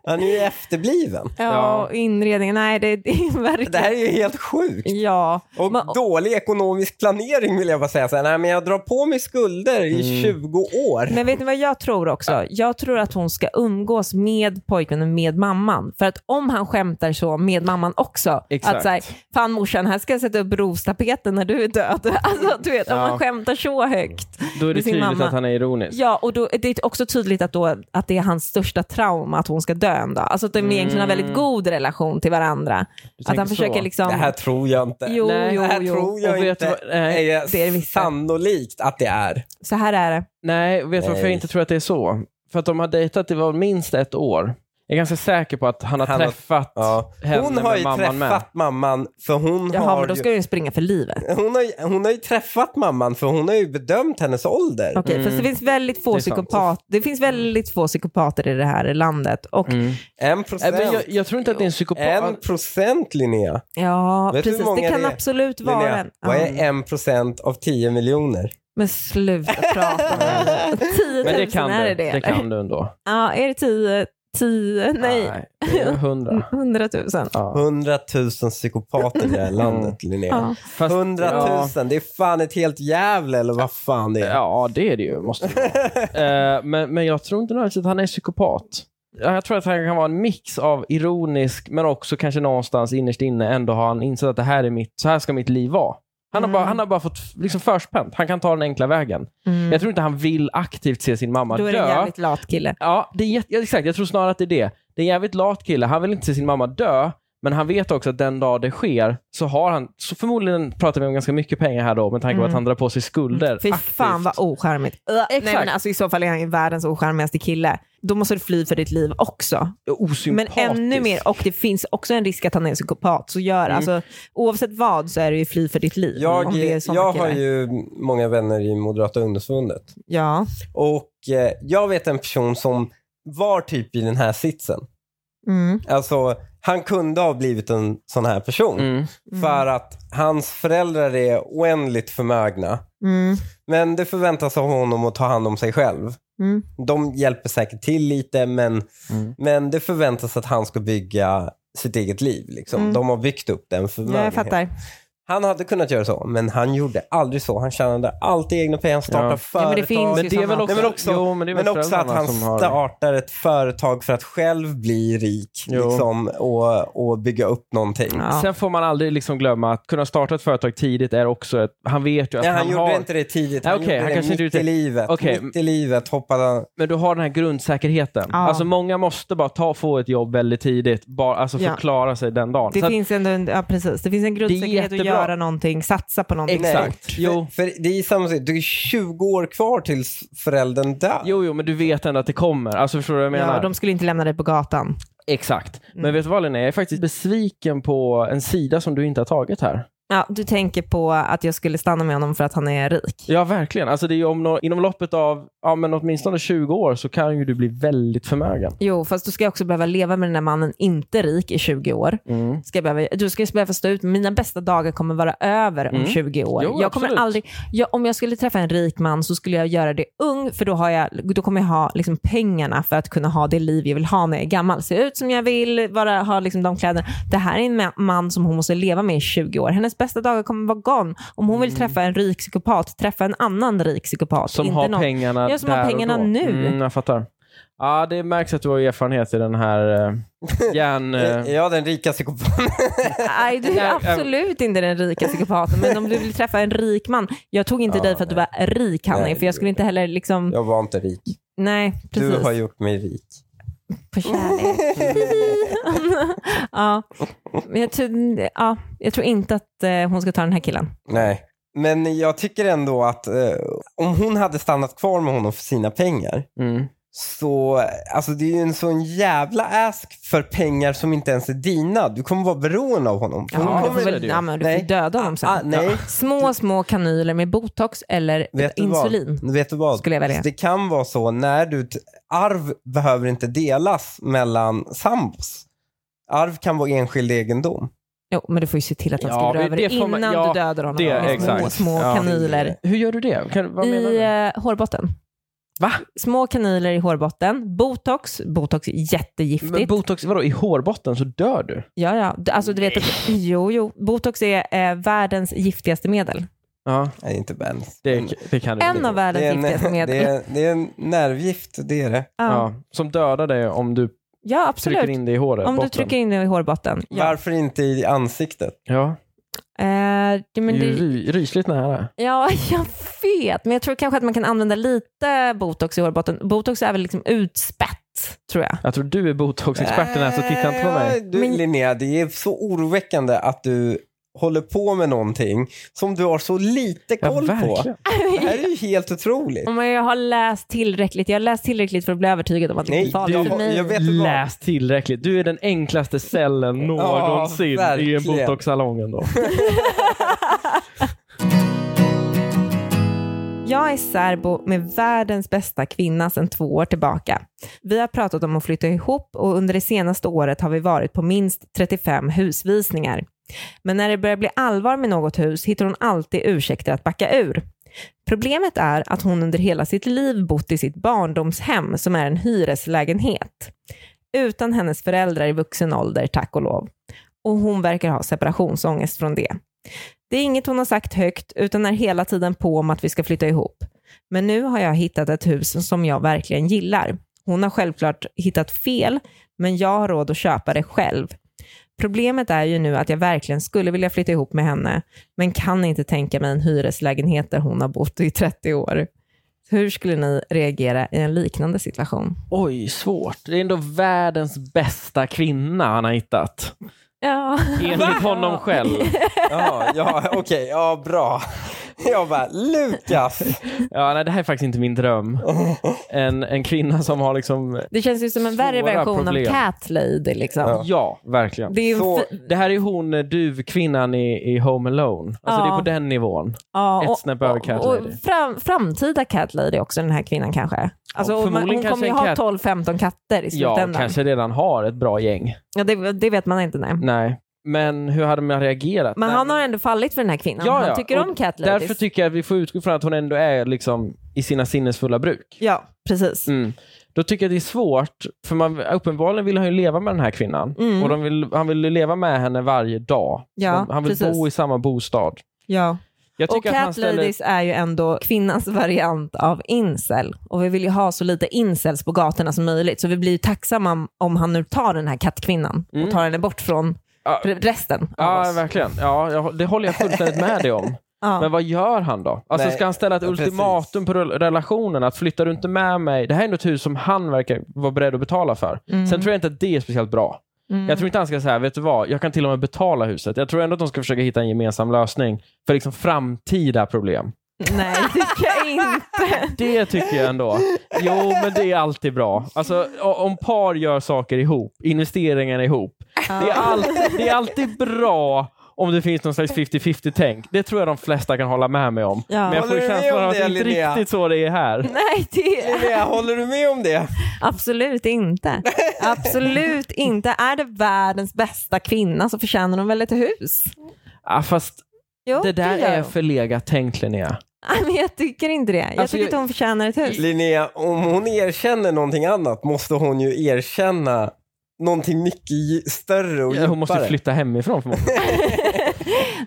Han är ju efterbliven. Ja, och inredningen. Nej, det, det är verkligen... Det här är ju helt sjukt. Ja. Och Men- dålig ekonomisk planering vill jag bara säga. Så här, nej, men jag drar på mig skulder Mm. i 20 år. Men vet ni vad jag tror också? Jag tror att hon ska umgås med pojkvännen, med mamman. För att om han skämtar så med mamman också, Exakt. att så här, fan morsan, här ska jag sätta upp rostapeten när du är död. Alltså, du vet, om Ja. man skämtar så högt. Då är det Med sin tydligt mamma. att han är ironisk. Ja, och då, det är också tydligt att, då, att det är hans största trauma att hon ska dö en dag. Alltså att de egentligen har väldigt god relation till varandra. Att Mm. tänker han försöker så. liksom... Det här tror jag inte. Jo, Nej, jo, det här jo. tror jag Och vet inte du vad- nej, är det är det visst. sannolikt att det är. Så här är det. Nej, vet du varför jag Nej. inte tror att det är så? För att de har dejtat i var minst ett år. Jag är ganska säker på att han har Han har- träffat Ja. henne Hon har med ju mamman med. träffat mamman för hon Jaha, har men då ju... ska du ju springa för livet. Hon har, ju- hon har ju träffat mamman för hon har ju bedömt hennes ålder. Okej, fast det finns väldigt få Mm. Det är sant. psykopat. Det finns väldigt få psykopater i det här landet. Och Mm. Äh, En Nej, men procent. jag, jag tror inte att det är en psykopat. En procent Linnea. ja, Vet du hur precis. många Det kan det är? absolut vara Linnea, en. Ah. vad Ja. är en procent av 10 miljoner? Men sluta prata nu. 10 000 Men det kan är du. det Det eller? kan du ändå. Ja, är det 10? 10? Nej, det är hundra. 100 000. Ja. 100 000 psykopater i det här landet Linnea. Mm. Ja. Fast- 100 000, Ja. det är fan ett helt jävla eller vad fan det är. Ja, det är det ju. Måste det vara. Eh, men, men jag tror inte nödvändigtvis att han är psykopat. Ja, Jag tror att han kan vara en mix av ironisk, men också kanske någonstans innerst inne ändå har han insett att det här är mitt, så här ska mitt liv vara. Han har, bara, han har bara fått liksom förspänt. Han kan ta den enkla vägen. Mm. Jag tror inte han vill aktivt se sin mamma Då är det en dö. jävligt lat kille. Ja, det är jätte- ja, exakt. Jag tror snarare att det är det. Det är en jävligt lat kille. Han vill inte se sin mamma dö, men han vet också att den dag det sker så har han, så förmodligen pratar vi om ganska mycket pengar här då, med tanke på att han drar på sig skulder. Mm. Fy aktivt. fan vad ocharmigt. Ö, Nej, Exakt. men alltså, I så fall är han ju världens ocharmigaste kille. Då måste du fly för ditt liv också. Men Osympatisk. ännu mer, och det finns också en risk att han är en psykopat. Så gör, alltså, oavsett vad så är det ju fly för ditt liv. om Mm. Jag, det är såna jag har killar. ju många vänner i Moderata ungdomsförbundet. Ja. Och eh, jag vet en person som var typ i den här sitsen. Mm. Alltså, han kunde ha blivit en sån här person. Mm. För att hans föräldrar är oändligt förmögna. Mm. Men det förväntas av honom att ta hand om sig själv. Mm. De hjälper säkert till lite, men, Mm. men det förväntas att han ska bygga sitt eget liv. Liksom. Mm. De har byggt upp den Ja, jag förmögenheten. fattar. han hade kunnat göra så, men han gjorde aldrig så. Han tjänade alltid egna pengar, startade Ja. Ja, företag. men det finns ju Men det är väl såna. också, Nej, men också- jo, men det är väl Men också att föräldrarna han som har- startar ett företag för att själv bli rik Jo. liksom, och, och bygga upp någonting. Ja. Sen får man aldrig liksom glömma att kunna starta ett företag tidigt är också ett... Han vet ju att Nej, han, han, gjorde har... inte det tidigt. Nej, Han okej, gjorde han det kanske inte mitt gjorde i det- livet. Okej. Mitt i livet hoppade han... Men du har den här grundsäkerheten. Ja. Alltså många måste bara ta och få ett jobb väldigt tidigt. Bara, alltså Ja. förklara sig den dagen. Det Så att- finns ändå en, ja, precis. Det finns en grundsäkerhet att jättebra. göra någonting, satsa på någonting. Exakt. stort. Jo. För, för det är samma sak. Du är 20 år kvar tills föräldern dör. Jo, jo, men du vet ändå att det kommer. Alltså förstår du vad jag menar? Ja, de Mm. skulle inte lämna dig på gatan. Exakt. Men vet du vad Linnea, jag är faktiskt besviken på en sida som du inte har tagit här. Ja, du tänker på att jag skulle stanna med honom för att han är rik. Ja, verkligen. Alltså, det är ju om nå- inom loppet av ja, men åtminstone 20 år så kan ju du bli väldigt förmögen. Jo, fast du ska jag också behöva leva med den här mannen, inte rik, i 20 år. Mm. Ska jag behöva, du ska behöva stå ut med mina bästa dagar kommer vara över om Mm. 20 år. Jo, jag kommer absolut. aldrig, jag, om jag skulle träffa en rik man så skulle jag göra det ung, för då, har jag, då kommer jag ha liksom, pengarna för att kunna ha det liv jag vill ha när jag är gammal. Se ut som jag vill, vara, ha liksom, de kläderna. Det här är en ma- man som hon måste leva med i 20 år. Hennes bästa dagar kommer vara gone. Om hon vill träffa en rik psykopat, träffa en annan rik psykopat. Mm. Som inte har någon- pengarna Ja, som har där och pengarna då. nu. Mm, jag fattar. Ja, det märks att du har erfarenhet i den här eh, järn... eh, Ja, den rika psykopaten. Nej, du Nej, är jag- absolut inte den rika psykopaten. Men om du vill träffa en rik man. Jag tog inte Ja, dig för att du var rik, Hanni. Nej, För jag skulle inte heller liksom... Jag var inte rik. Nej, precis. Du har gjort mig rik. På kärlek. ja. Men jag, tror, ja, jag tror inte att eh, hon ska ta den här killen. Nej. Men jag tycker ändå att eh, om hon hade stannat kvar med honom för sina pengar Mm. så, alltså det är ju en sån jävla ask för pengar som inte ens är dina. Du kommer vara beroende av honom. Ja, men men Hon du kommer- får, väl, det ju. ja, men du får ju Nej. döda honom sen. Ah, nej. Små, små kanyler med botox eller Vet du insulin. Vad? Vet du vad? Skulle jag välja. Det kan vara så när du... Arv behöver inte delas mellan sambos. Arv kan vara enskild egendom. Jo, men du får ju se till att han Ja, skriver det- över det det får man- innan ja, du dödar honom. det- med små, exakt. små Ja. kanyler. Hur gör du det? Kan, vad menar I du? eh, hårbotten. Va? Små kanyler i hårbotten. Botox. Botox är Men jättegiftigt. botox, vadå, i hårbotten så dör du? ja, ja. D- Alltså, du vet att, jo, jo. Botox är eh, världens giftigaste medel. Ja, Nej, inte Benz. det, det kan du En inte. av världens det, är en, giftigaste medel. det, är, det är en nervgift, det är det. ja. Ja, som dödar dig om du ja, trycker absolut. in det i håret. Om du botten. trycker in det i hårbotten. Ja. Varför inte i ansiktet? Ja, Eh, det, men det är ju det, ry- rysligt nära. ja, jag vet. Men jag tror kanske att man kan använda lite botox i hårbotten. Botox är väl liksom utspätt, tror jag. Jag tror du är botoxexperten här, så titta inte på mig. Nej, Eh, Du, Men- Linnea, det är så oroväckande att du håller på med någonting som du har så lite Ja, koll på. verkligen. Det här är ju helt otroligt. Om jag har läst tillräckligt. Jag har läst tillräckligt för att bli övertygad om att det Nej, är farligt jag- för mig. jag vet du vad? Läs tillräckligt. Du är den enklaste cellen någonsin i en verkligen. botoxsalong ändå. Jag är särbo med världens bästa kvinna sedan två år tillbaka. Vi har pratat om att flytta ihop och under det senaste året har vi varit på minst 35 husvisningar. Men när det börjar bli allvar med något hus hittar hon alltid ursäkter att backa ur. Problemet är att hon under hela sitt liv bott i sitt barndomshem som är en hyreslägenhet. Utan hennes föräldrar i vuxen ålder, tack och lov. Och hon verkar ha separationsångest från det. Det är inget hon har sagt högt utan är hela tiden på om att vi ska flytta ihop. Men nu har jag hittat ett hus som jag verkligen gillar. Hon har självklart hittat fel, men jag har råd att köpa det själv. Problemet är ju nu att jag verkligen skulle vilja flytta ihop med henne, men kan inte tänka mig en hyreslägenhet där hon har bott i 30 år. Hur skulle ni reagera i en liknande situation? Oj, svårt. Det är ändå världens bästa kvinna han har hittat. Ja. Enligt honom själv. Ja, ja okej, ja bra. Jag bara, Lukas! Ja, nej, det här är faktiskt inte min dröm. En, en kvinna som har liksom... Det känns ju som en värre Svåra version problem. av Cat Lady. Liksom. Ja. Ja, verkligen. Det är ju Så- en fi- Det här är ju hon eh, duvkvinnan i, i Home Alone. Alltså Ja. det är på den nivån. Ja, Ett snäpp över Cat och Lady. fram, Framtida Cat Lady också, den här kvinnan kanske. Alltså, Ja, hon- hon förmodligen kommer ju kanske ha en 12-15 katter i Ja, slutändan. kanske redan har ett bra gäng. Ja, det, det vet man inte. Nej. Nej, men hur hade man reagerat? Men Nej, han har ändå fallit för den här kvinnan. Ja, han ja, tycker och om Cat Ladies. Därför tycker jag att vi får utgå från att hon ändå är liksom i sina sinnesfulla bruk. ja, precis. Mm. Då tycker jag det är svårt, för man, uppenbarligen vill han ju leva med den här kvinnan. Mm. Och de vill, han vill ju leva med henne varje dag. Ja, de, han vill precis. bo i samma bostad. Ja. Jag tycker Och att han Cat ställer... Ladies är ju ändå kvinnans variant av incel. Och vi vill ju ha så lite incels på gatorna som möjligt. Så vi blir ju tacksamma om- om han nu tar den här kattkvinnan Mm. och tar henne bort från Ja. re- resten av Ja, oss. verkligen. Ja, jag, det håller jag fullständigt med dig om. Ja. Men vad gör han då? Alltså, Nej, ska han ställa ett ja, precis. ultimatum på rel- relationen? Att flyttar du inte med mig... Det här är ändå ett hus som han verkar vara beredd att betala för. Mm. Sen tror jag inte att det är speciellt bra. Mm. Jag tror inte han ska säga, vet du vad, jag kan till och med betala huset. Jag tror ändå att de ska försöka hitta en gemensam lösning för liksom framtida problem. Nej, det tycker jag inte. Det tycker jag ändå. Jo, men det är alltid bra. Alltså, o- om par gör saker ihop, investeringar ihop, det är alltid, det är alltid bra om det finns någon slags 50-50-tänk. Det tror jag de flesta kan hålla med mig om. Ja. Men jag får Håller du med känslan om av att det det, inte Linnea? riktigt så det är här. Nej, det Linnea, håller du med om det? Absolut inte. Absolut inte. Är det världens bästa kvinna så förtjänar de väl ett hus? Ja, fast Jo, det där gör är de. förlegat tänkt Linnea. Nej, men jag tycker inte det. Jag Alltså, tycker jag- att hon förtjänar ett hus. Linnea, om hon erkänner någonting annat måste hon ju erkänna någonting mycket dj- större och djupare. Hon måste flytta hemifrån förmodligen.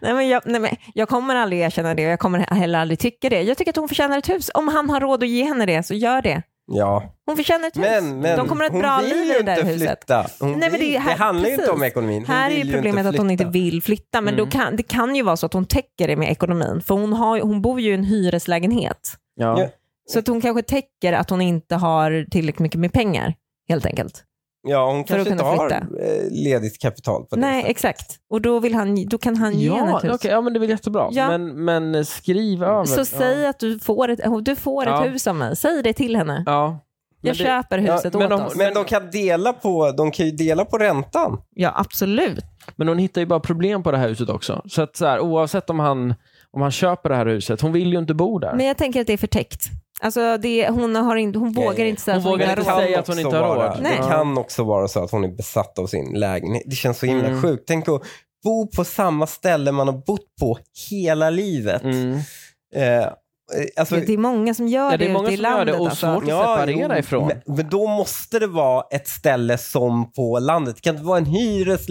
Nej, men jag, nej, men jag kommer aldrig erkänna det och jag kommer heller aldrig tycka det. Jag tycker att hon förtjänar ett hus. Om han har råd att ge henne det så gör det. Ja, Hon förtjänar ett hus. men, men de kommer att ha ett hon bra vill liv i ju det där inte huset. flytta. Hon Nej, men vill- det är ju här- handlar ju inte om precis. ekonomin. Hon Här är vill ju inte problemet att hon inte flytta. Mm. vill flytta, men då kan, det kan ju vara så att hon täcker det med ekonomin. För hon, har, ju- hon bor ju i en hyreslägenhet. Ja. Ja. Så att hon kanske täcker att hon inte har tillräckligt mycket med pengar, helt enkelt. Ja, hon För att kanske inte kunna har flytta. eh, ledigt kapital på det Nej, sättet. exakt. Och då, vill han, då kan han ge henne Ja, ett hus. okej, ja, men det är väl jättebra. Ja. Men, men skriv över. Så säg att du får ett, du får ett Ja. hus av mig. Säg det till henne. Ja. Jag Men det- köper huset men åt om- oss. Men de kan, dela på, de kan ju dela på räntan. Ja, absolut. Men hon hittar ju bara problem på det här huset också. Så att så här, oavsett om han, om han köper det här huset, hon vill ju inte bo där. Men jag tänker att det är förtäckt. Alltså, det, hon, har inte, hon Nej, vågar nej. inte säga Hon att hon vågar inte inte har råd. säga att hon också inte har vara- råd. Nej. Det kan också vara så att hon är besatt av sin lägenhet. Det känns så himla Mm. sjukt. Tänk att bo på samma ställe man har bott på hela livet. Mm. Eh, eh, alltså, Det är många som gör Ja, det, det är många ute i som gör landet. det och alltså. svårt att separera ifrån. Men, men då måste det vara ett ställe som på landet. Det kan inte vara en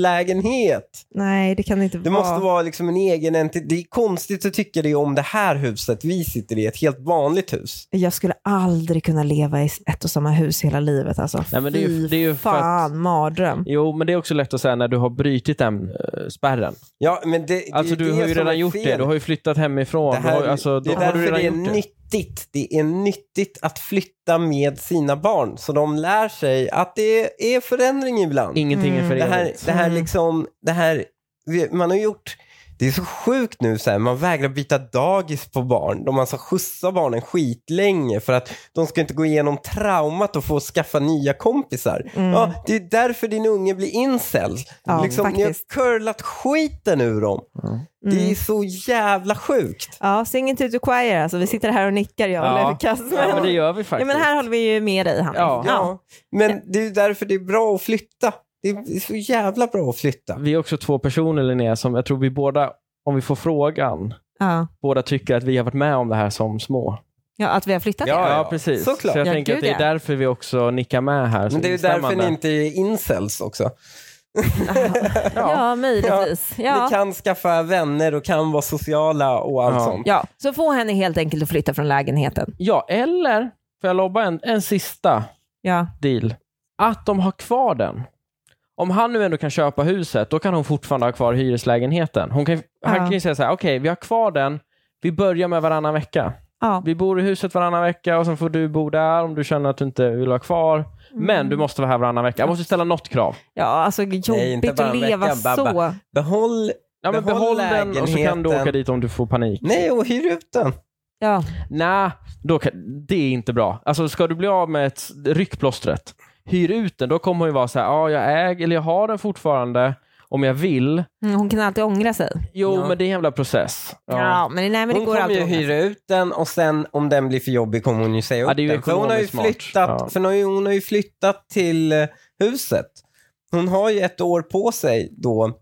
hyreslägenhet. Nej, det kan det inte Det vara. måste vara liksom en egen entitet. Det är konstigt att tycka det om det här huset vi sitter i, ett helt vanligt hus. Jag skulle aldrig kunna leva i ett och samma hus hela livet. Alltså. Nej, men det är ju- Fy det är ju för att- fan, mardröm. Jo, men det är också lätt att säga när du har brytit den eh, spärren. Ja, men det, det Alltså är du har ju som är redan gjort det. fel. Du har ju flyttat hemifrån. det, du här, har, ju- alltså, det är då har du därför redan det är gjort det. nyttigt. Det är nyttigt att flytta med sina barn. Så de lär sig att det är förändring ibland. Ingenting är för Det här, evigt. det här Mm. liksom, det här, vi- man har gjort, det är så sjukt nu så här, man vägrar byta dagis på barn. De alltså skjutsar barnen skitlänge för att de ska inte gå igenom traumat och få skaffa nya kompisar. Mm. Ja, det är därför din unge blir incel. Ja, liksom, ni har faktiskt. curlat skiten ur dem. Mm. Det är så jävla sjukt. Ja, singing to the choir. Alltså, vi sitter här och nickar, jag Ja. och Lukas. Ja, men det gör vi Ja, faktiskt. men här håller vi ju med dig, Hanif. Ja. Ja, men det är ju därför det är bra att flytta. Det är så jävla bra att flytta. Vi är också två personer, Linnea, som jag tror vi båda, om vi får frågan, Ja. båda tycker att vi har varit med om det här som små. Ja, att vi har flyttat Ja, er. ja. precis. Såklart. Så jag Ja, tänker gud, att det är ja. därför vi också nickar med här. Men det är ju därför ni inte är incels också. Ja, möjligtvis. Ni Ja. kan skaffa vänner och kan vara sociala och allt Ja. sånt. Ja, så få henne helt enkelt att flytta från lägenheten. Ja, eller, får jag lobba en, en sista Ja. deal? Att de har kvar den. Om han nu ändå kan köpa huset, då kan hon fortfarande ha kvar hyreslägenheten. Hon kan, Han Ja. kan ju säga så här, okej, vi har kvar den, vi börjar med varannan vecka. Ja. Vi bor i huset varannan vecka och sen får du bo där om du känner att du inte vill vara kvar. Mm. Men du måste vara här varannan vecka. Jag måste ställa något krav. ja, alltså Nej, jobbigt inte bara att en leva vecka, så. Babba. Behåll, Ja, men behåll, Behåll den och så kan du lägenheten. åka dit om du får panik. nej och hyr ut den. Ja. Nej, då kan, det är inte bra. Alltså ska du bli av med ett ryckplåstret, hyr ut den, då kommer hon ju vara så här, ja jag äger, eller jag har den fortfarande om jag vill. Mm, Hon kan alltid ångra sig. Jo, Ja. men det är en jävla process. Ja, men, nej, men det Hon går kommer alltid ju att ångra sig. hyra ut den och sen om den blir för jobbig kommer hon ju säga Ja, upp det är ju den. För hon har ju ekonomiskt smart. flyttat, Ja. för hon har, ju, hon har ju flyttat till eh, huset. Hon har ju ett år på sig då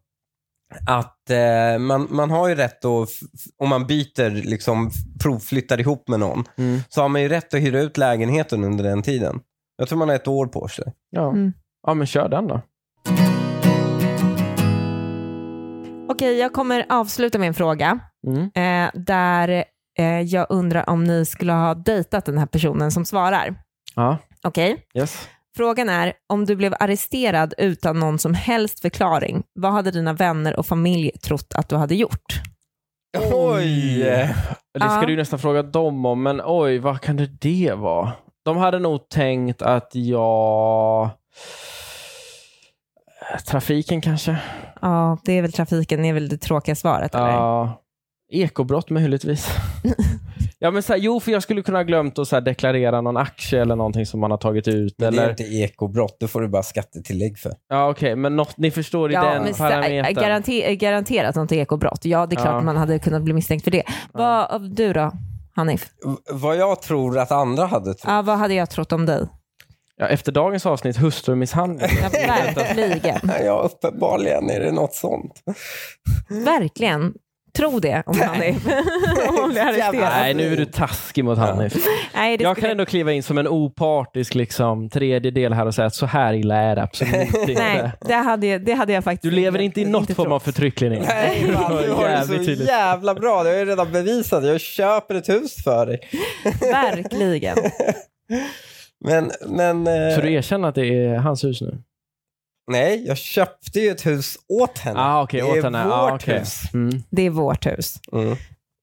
att eh, man, man har ju rätt att, f- f- om man byter, liksom provflyttar ihop med någon, Mm. så har man ju rätt att hyra ut lägenheten under den tiden. Jag tror man har ett år på sig. Ja. Mm. ja, men kör den då. Okej, jag kommer avsluta med en fråga. Mm. eh, där eh, jag undrar om ni skulle ha dejtat den här personen som svarar. Ja, Okej? yes. Frågan är, om du blev arresterad utan någon som helst förklaring, vad hade dina vänner och familj trott att du hade gjort? Oj. Det ska Ja. du ju nästan fråga dem om, men oj, vad kan det det vara? De hade nog tänkt att jag... Trafiken kanske? Ja, det är väl trafiken, det är väl det tråkiga svaret? Eller? Ja. Ekobrott möjligtvis. Ja, men så här, jo, för jag skulle kunna ha glömt att så här, deklarera någon aktie eller någonting som man har tagit ut. Men det är Eller... ju inte ekobrott, då får du bara skattetillägg för. Ja, okej, men något, ni förstår i Ja, den men sta- parametern. garanter- garanterat något ekobrott. Ja, det är klart Ja. man hade kunnat bli misstänkt för det. Vad, du då, Hanif? V- vad jag tror att andra hade trott. Ja, vad hade jag trott om dig? Ja, efter dagens avsnitt, hustrumisshandel. Ja, verkligen. Ja, uppenbarligen är det något sånt. Verkligen. Tro det om Hanif. om hon blir arresterad. Nej, nu är du taskig mot Hanif. Nej, det Jag kan skulle- ändå kliva in som en opartisk liksom, tredjedel här och säga att så här illa är det absolut Nej, inte. det hade, jag- det hade jag faktiskt Du lever inte i något form av trott. förtrycklinje. Nej, fan, du har det så Jävligt tydligt. jävla bra. Det har jag ju redan bevisat. Jag köper ett hus för dig. Verkligen. Men, men... eh, Så du erkänner att det är hans hus nu? Nej, jag köpte ju ett hus åt henne. Ah, okej, det är åt henne. vårt Ah, okej. hus. Mm. Det är vårt hus. Mm.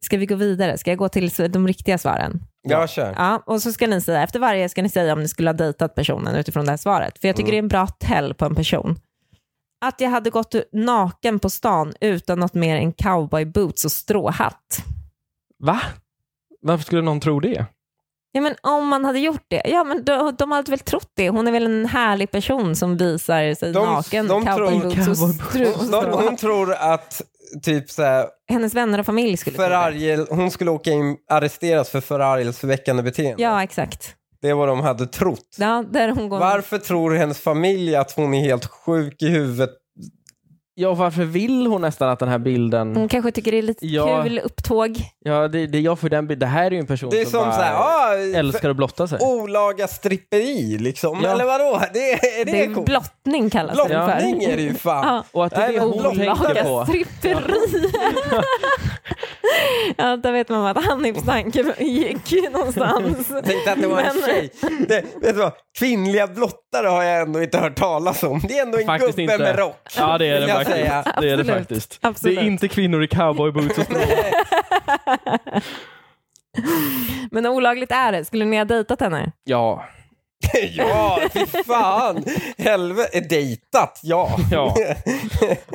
Ska vi gå vidare? Ska jag gå till s- de riktiga svaren? Jag kör. Ja, och så ska ni säga, efter varje ska ni säga om ni skulle ha dejtat personen utifrån det här svaret. För jag Mm. tycker det är en bra tell på en person. Att jag hade gått naken på stan utan något mer än cowboyboots och stråhatt. Va? Varför skulle någon tro det? Ja, men om man hade gjort det, ja men de, de hade väl trott det. Hon är väl en härlig person som visar sig De- naken, de tror- cowboyboots och stru- och Hon, hon, stråhatt. hon tror att typ så här, Hennes vänner och familj skulle tro det. förargel, hon skulle åka in, arresteras för förargelseväckande beteende. Ja, exakt. Det är vad de hade trott. Ja, där hon går Varför tror hennes familj att hon är helt sjuk i huvudet? Ja, och varför vill hon nästan att den här bilden... Hon kanske tycker det är lite Ja. kul upptåg. Ja, det, det, jag får den bilden. Det här är ju en person Det är som som så här, bara ah, älskar att blotta sig. olaga stripperi liksom. Ja. Eller vadå? Det, är det, Det är coolt? blottning kallas det för. Blottning är det ju fan. Ja. Och att det är Nej, det men hon olaga tänker Olaga på. stripperi. ja, där vet man att Hanifs tanke gick någonstans. Jag tänkte att det var en Men- tjej. Det, vet du vad? Kvinnliga blottare har jag ändå inte hört talas om. Det är ändå en Faktiskt gubbe inte. med rock. Ja, det är det vill jag faktiskt. säga. Det är det Absolut. faktiskt. Absolut. Det är inte kvinnor i cowboyboots och strålar. Men olagligt är det. Skulle ni ha dejtat henne? Ja, ja, fy fan. Helvete. Dejtat, ja. ja.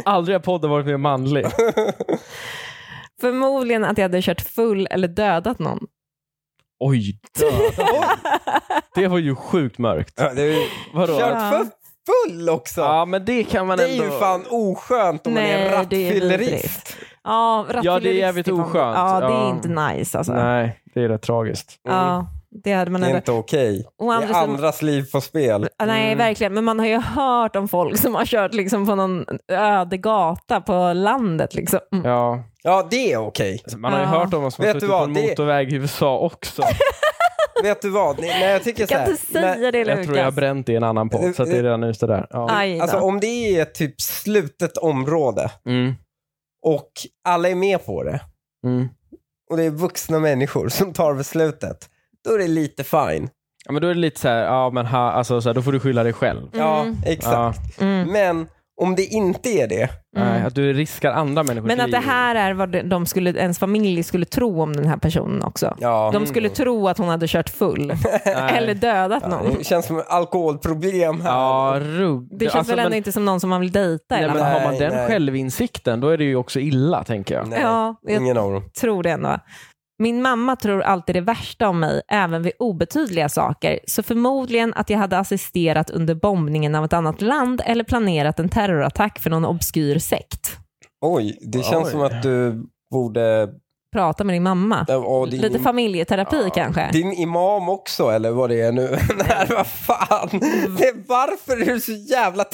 Aldrig har podden varit mer manlig. Förmodligen att jag hade kört full eller dödat någon. Oj, döda. Det var ju sjukt mörkt. Ja, det är ju Vadå? kört Ja. för full också. Ja, men det kan man det är ändå... ju fan oskönt om man är Nej, det är rattfyllerist. vidrigt. Ja, Ja, det är rattfyllerist jävligt fan- oskönt. Ja, det är Ja. inte nice alltså. Nej, det är rätt tragiskt. Ja, det hade man Det är ändå. inte okej. Å Det andra är sidan- andras liv på spel. Ja, Ah, Mm. Nej, verkligen. Men man har ju hört om folk som har kört liksom på någon öde gata på landet. Liksom. Ja. Alltså, Ja, det är okej. Man har ju Ja. hört om vad som har Vet du suttit på vad, en det- motorväg i USA också. Vet du vad? Nej, nej, jag tycker så Kan här, du säga det Jag Lukas? tror jag har bränt det i en annan podd, så att det är redan ute där. Ja. Aj då. Alltså om det är typ slutet område Mm. och alla är med på det Mm. och det är vuxna människor som tar beslutet, då är det lite fine. ja, men då är det lite så här, ja men ha, alltså, så här, då får du skylla dig själv. Ja, Mm. exakt. Mm. Men om det inte är det, Nej, att du riskar andra människors Men att det liv. här är vad de- de skulle, ens familj skulle tro om den här personen också. ja. Mm. De skulle tro att hon hade kört full Mm. Nej. eller dödat någon. Det känns som ett alkoholproblem här. Ja, rugg. Det känns Alltså, väl ändå men- inte som någon som man vill dejta i Nej, alla men fall. har man Nej, den nej. självinsikten, då är det ju också illa, tänker jag. Nej, Ja, jag- ingen av dem. Tror det ändå. Min mamma tror alltid det värsta om mig, även vid obetydliga saker. Så förmodligen att jag hade assisterat under bombningen av ett annat land eller planerat en terrorattack för någon obskyr sekt. Oj, det känns Oj. som att du borde... Prata med din mamma. Ja, och din- Lite familjeterapi Ja. kanske. Din imam också, eller vad det är nu? Nej, vad fan! Det är varför är du så jävla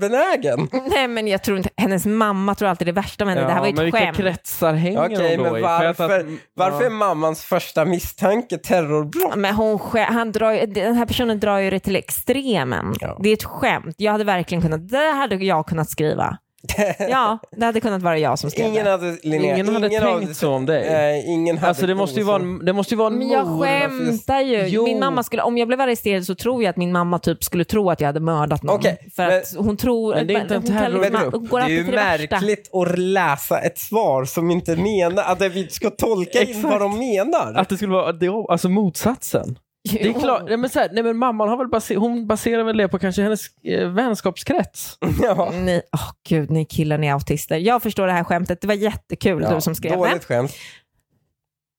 terrorbenägen? Nej men jag tror inte, hennes mamma tror alltid det värsta om henne. det här var men ju ett vilka skämt. kretsar hänger Okej, de då men i? För att- varför, varför är ja. mammans första misstanke terrorbrott? Men hon, skä- han drar, ju- den här personen drar ju det till extremen. Ja. Det är ett skämt. Jag hade verkligen kunnat, det hade jag kunnat skriva. Ja, det hade kunnat vara jag som skrev Ingen det. hade, Linnea, Ingen hade av- tänkt så om dig. Nej, ingen hade Alltså det måste ju vara tänkt en, det måste ju vara en Men jag mor. skämtar ju. Jo. Min mamma skulle, om jag blev arresterad så tror jag att min mamma typ skulle tro att jag hade mördat någon. Okej, för men- att hon tror... Men det är inte en hon kallar- terrorgrupp. hon så. går Det är alltid ju till det värsta. märkligt att läsa ett svar som inte menar att vi ska tolka in Exakt. vad de menar. Att det skulle vara det, alltså motsatsen. Det är klart, nej men, så här, nej men mamman har väl baser, hon baserar väl det på kanske hennes eh, vänskapskrets. ja. Ni, åh gud, ni killar, ni är autister. Jag förstår det här skämtet. Det var jättekul, Ja, Mm. du som skrev det. Dåligt skämt.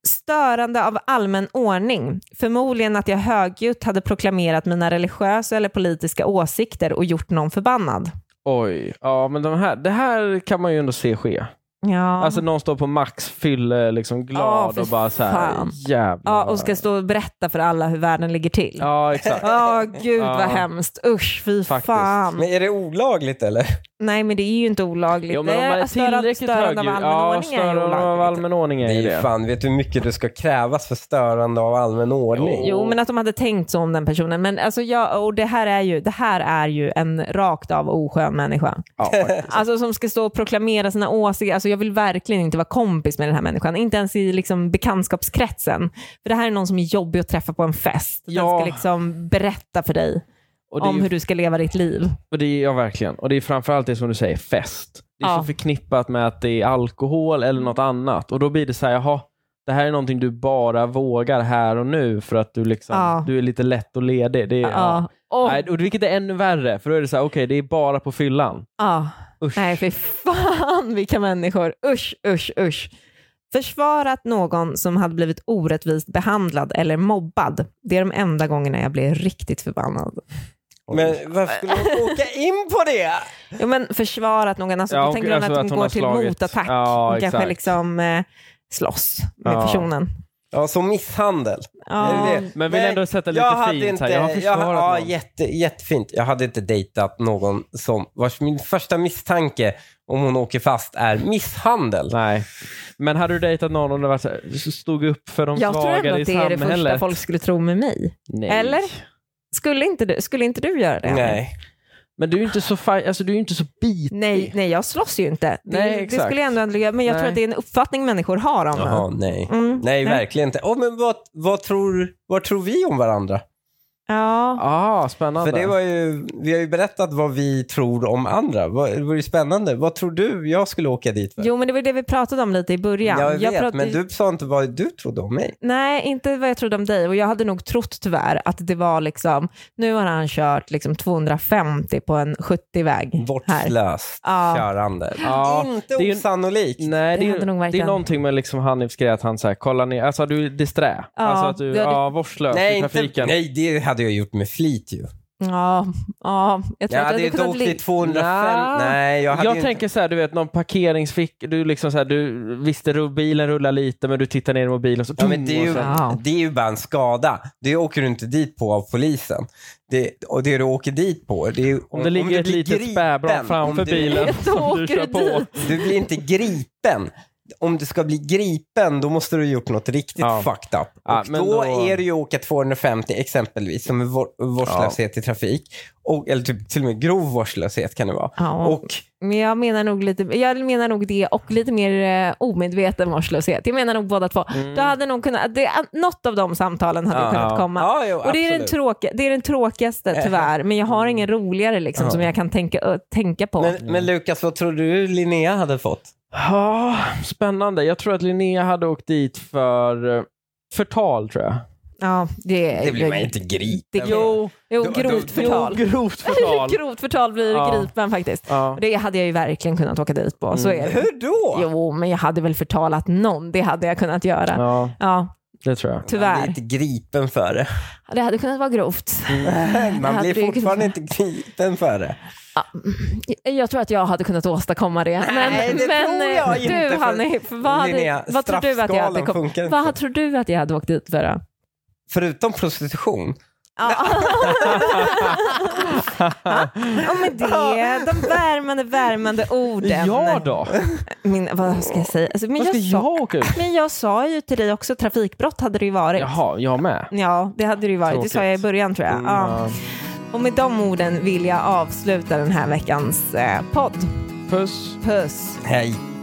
Störande av allmän ordning. Förmodligen att jag högljutt hade proklamerat mina religiösa eller politiska åsikter och gjort någon förbannad. Oj, ja men de här, det här kan man ju ändå se ske. Ja. Alltså någon står på max, fyller liksom Ja, glad för och bara så här, fan. jävlar. ja, och ska stå och berätta för alla hur världen ligger till. Ja, Ja, exakt. gud Ja. vad hemskt. Usch, fy Faktiskt. fan. Men är det olagligt eller? Nej, men det är ju inte olagligt. Jo, men om Det man är störande- tillräckligt störande högljudd. av allmän Ja, ordning är ju störande av olagligt. allmän ordning är Det är ju ju det. fan, vet du hur mycket du ska krävas för störande av allmän ordning? Jo, men att de hade tänkt så om den personen. Men alltså, jag, och det här, är ju, det här är ju en rakt av oskön människa. Ja, Alltså som ska stå och proklamera sina åsikter. Alltså jag vill verkligen inte vara kompis med den här människan. Inte ens i liksom bekantskapskretsen. För det här är någon som är jobbig att träffa på en fest. Ja. Den ska liksom berätta för dig och det är om ju hur du ska leva ditt liv. Och det är, ja, verkligen. Och det är framförallt det som du säger, fest. Det är Ja. så förknippat med att det är alkohol eller något annat. Och då blir det så här, jaha, det här är någonting du bara vågar här och nu för att du, liksom, Ja. du är lite lätt och ledig. Det är, Ja. Och, Nej, och vilket är ännu värre, för då är det så här, okej, det är bara på fyllan. ja. Usch. Nej, för fan vilka människor. Usch, usch, usch. Försvarat någon som hade blivit orättvist behandlad eller mobbad. Det är de enda gångerna jag blir riktigt förbannad. Men varför skulle hon åka in på det? Ja, men försvarat någon, alltså, Ja, då hon- tänker hon alltså att hon att hon går har till slagit. motattack. Ja, hon kanske exakt. liksom eh, slåss med Ja. personen. Ja, som misshandel. Ja. Är det det? Men vill ändå sätta lite hade fint här. Jag har försvarat ja, någon. jätte, Jättefint. Jag hade inte dejtat någon som, vars min första misstanke om hon åker fast är misshandel. Nej. Men hade du dejtat någon och det var så här, stod upp för de Jag tror ändå svagare i att det är det samhället? första folk skulle tro med mig. Nej. Eller? Skulle inte du, skulle inte du göra det? Nej. Men du är ju inte så, fa- alltså, du är ju inte så bitig. Nej, nej, jag slåss ju inte. Det, Nej, det exakt. skulle jag ändå aldrig göra, men jag Nej. tror att det är en uppfattning människor har om Jaha, mig. nej. Mm, Nej, verkligen inte. Åh, men vad, vad, tror, vad tror vi om varandra? Ja. Ah, För spännande. det var ju, vi har ju berättat vad vi tror om andra. Vad- Det vore ju spännande. Vad tror du jag skulle åka dit för? Jo, men det var det vi pratade om lite i början. jag vet, pratade- men du sa inte vad du trodde om mig. Nej, inte vad jag trodde om dig. Och jag hade nog trott tyvärr att det var liksom, nu har han kört liksom 250 på en 70-väg. här. Vårdslöst Ja. körande. Ja, Inte det är ju- osannolikt. Nej, Det det, hade nog är, det är verkligen- någonting med liksom Hanifs grej att han så här, kollar ner, alltså du är disträ. Ja, alltså att du, du hade- ja, vårdslös Nej, i inte, trafiken. nej, det hade jag gjort med flit ju. Ja, ja, jag tror Jag att jag hade hade inte kunnat... åkt i Li- 205. Nja. Nej, jag hade Jag ju tänker så här, du vet någon parkeringsfick, du liksom så här, du visste ru- bilen rullar lite men du tittar ner i mobilen så... Ja, men det, är ju, och så här. Wow. det är ju bara en skada. Det åker du inte dit på av polisen. Det, och det du åker dit på, det är ju... om det ligger du ett blir litet spädbarn gripen, framför om du, bilen Då som du åker kör du på. dit. Du blir inte gripen. Om du ska bli gripen, då måste du ha gjort något riktigt Ja. fucked up. Ja, och men då, då- är det ju att åka 250 exempelvis, som är vår- vårdslöshet i trafik. Och, eller typ, till och med grov vårdslöshet kan det vara. Ja. Och Men jag menar nog lite, jag menar nog det och lite mer eh, omedveten vårdslöshet. Jag menar nog båda två. Då hade nog kunnat, det, något av de samtalen hade Mm. Ja. kunnat komma. Ja, jo, och det är, den absolut. tråkiga, det är den tråkigaste tyvärr, men jag har ingen roligare liksom, Ja. som jag kan tänka, ö, tänka på. Men, men Lukas, vad tror du Linnea hade fått? Ja, spännande. Jag tror att Linnea hade åkt dit för eh, förtal tror jag. ja, det, Det blir man inte gripen. Det- Jo. Jo, Då- då- grovt förtal. Jo, grovt förtal. Grovt förtal blir Ja. gripen faktiskt. ja. Och Det hade jag ju verkligen kunnat åka dit på. Så är det. Mm. Hur då? Jo, men jag hade väl förtalat någon. Det hade jag kunnat göra. Ja, ja, det tror jag. Man tyvärr. blir inte gripen för det. Det hade kunnat vara grovt. Man hade blir ju fortfarande inte gripen för det. Jag tror att jag hade kunnat åstadkomma det. Men, Mm. Nej, det men tror jag eh, du, inte, för- Hanif, vad, hade, Linnea, vad tror du att jag hade straffskalan kom, funkar inte. Vad tror du att jag hade åkt dit för då? Förutom prostitution. Ja. Och med det, de värmande, värmande orden. Ja då, Min, vad ska jag säga? Alltså, men, vad ska jag sa, jag åka ut? men jag sa ju till dig också, trafikbrott hade det ju varit. Jaha, jag med. Mm, Ja, det hade det ju varit. Det sa jag i Tråkigt. Oh, början tror jag. Ja. Och med de orden vill jag avsluta den här veckans eh, podd. Puss. Puss! Hej.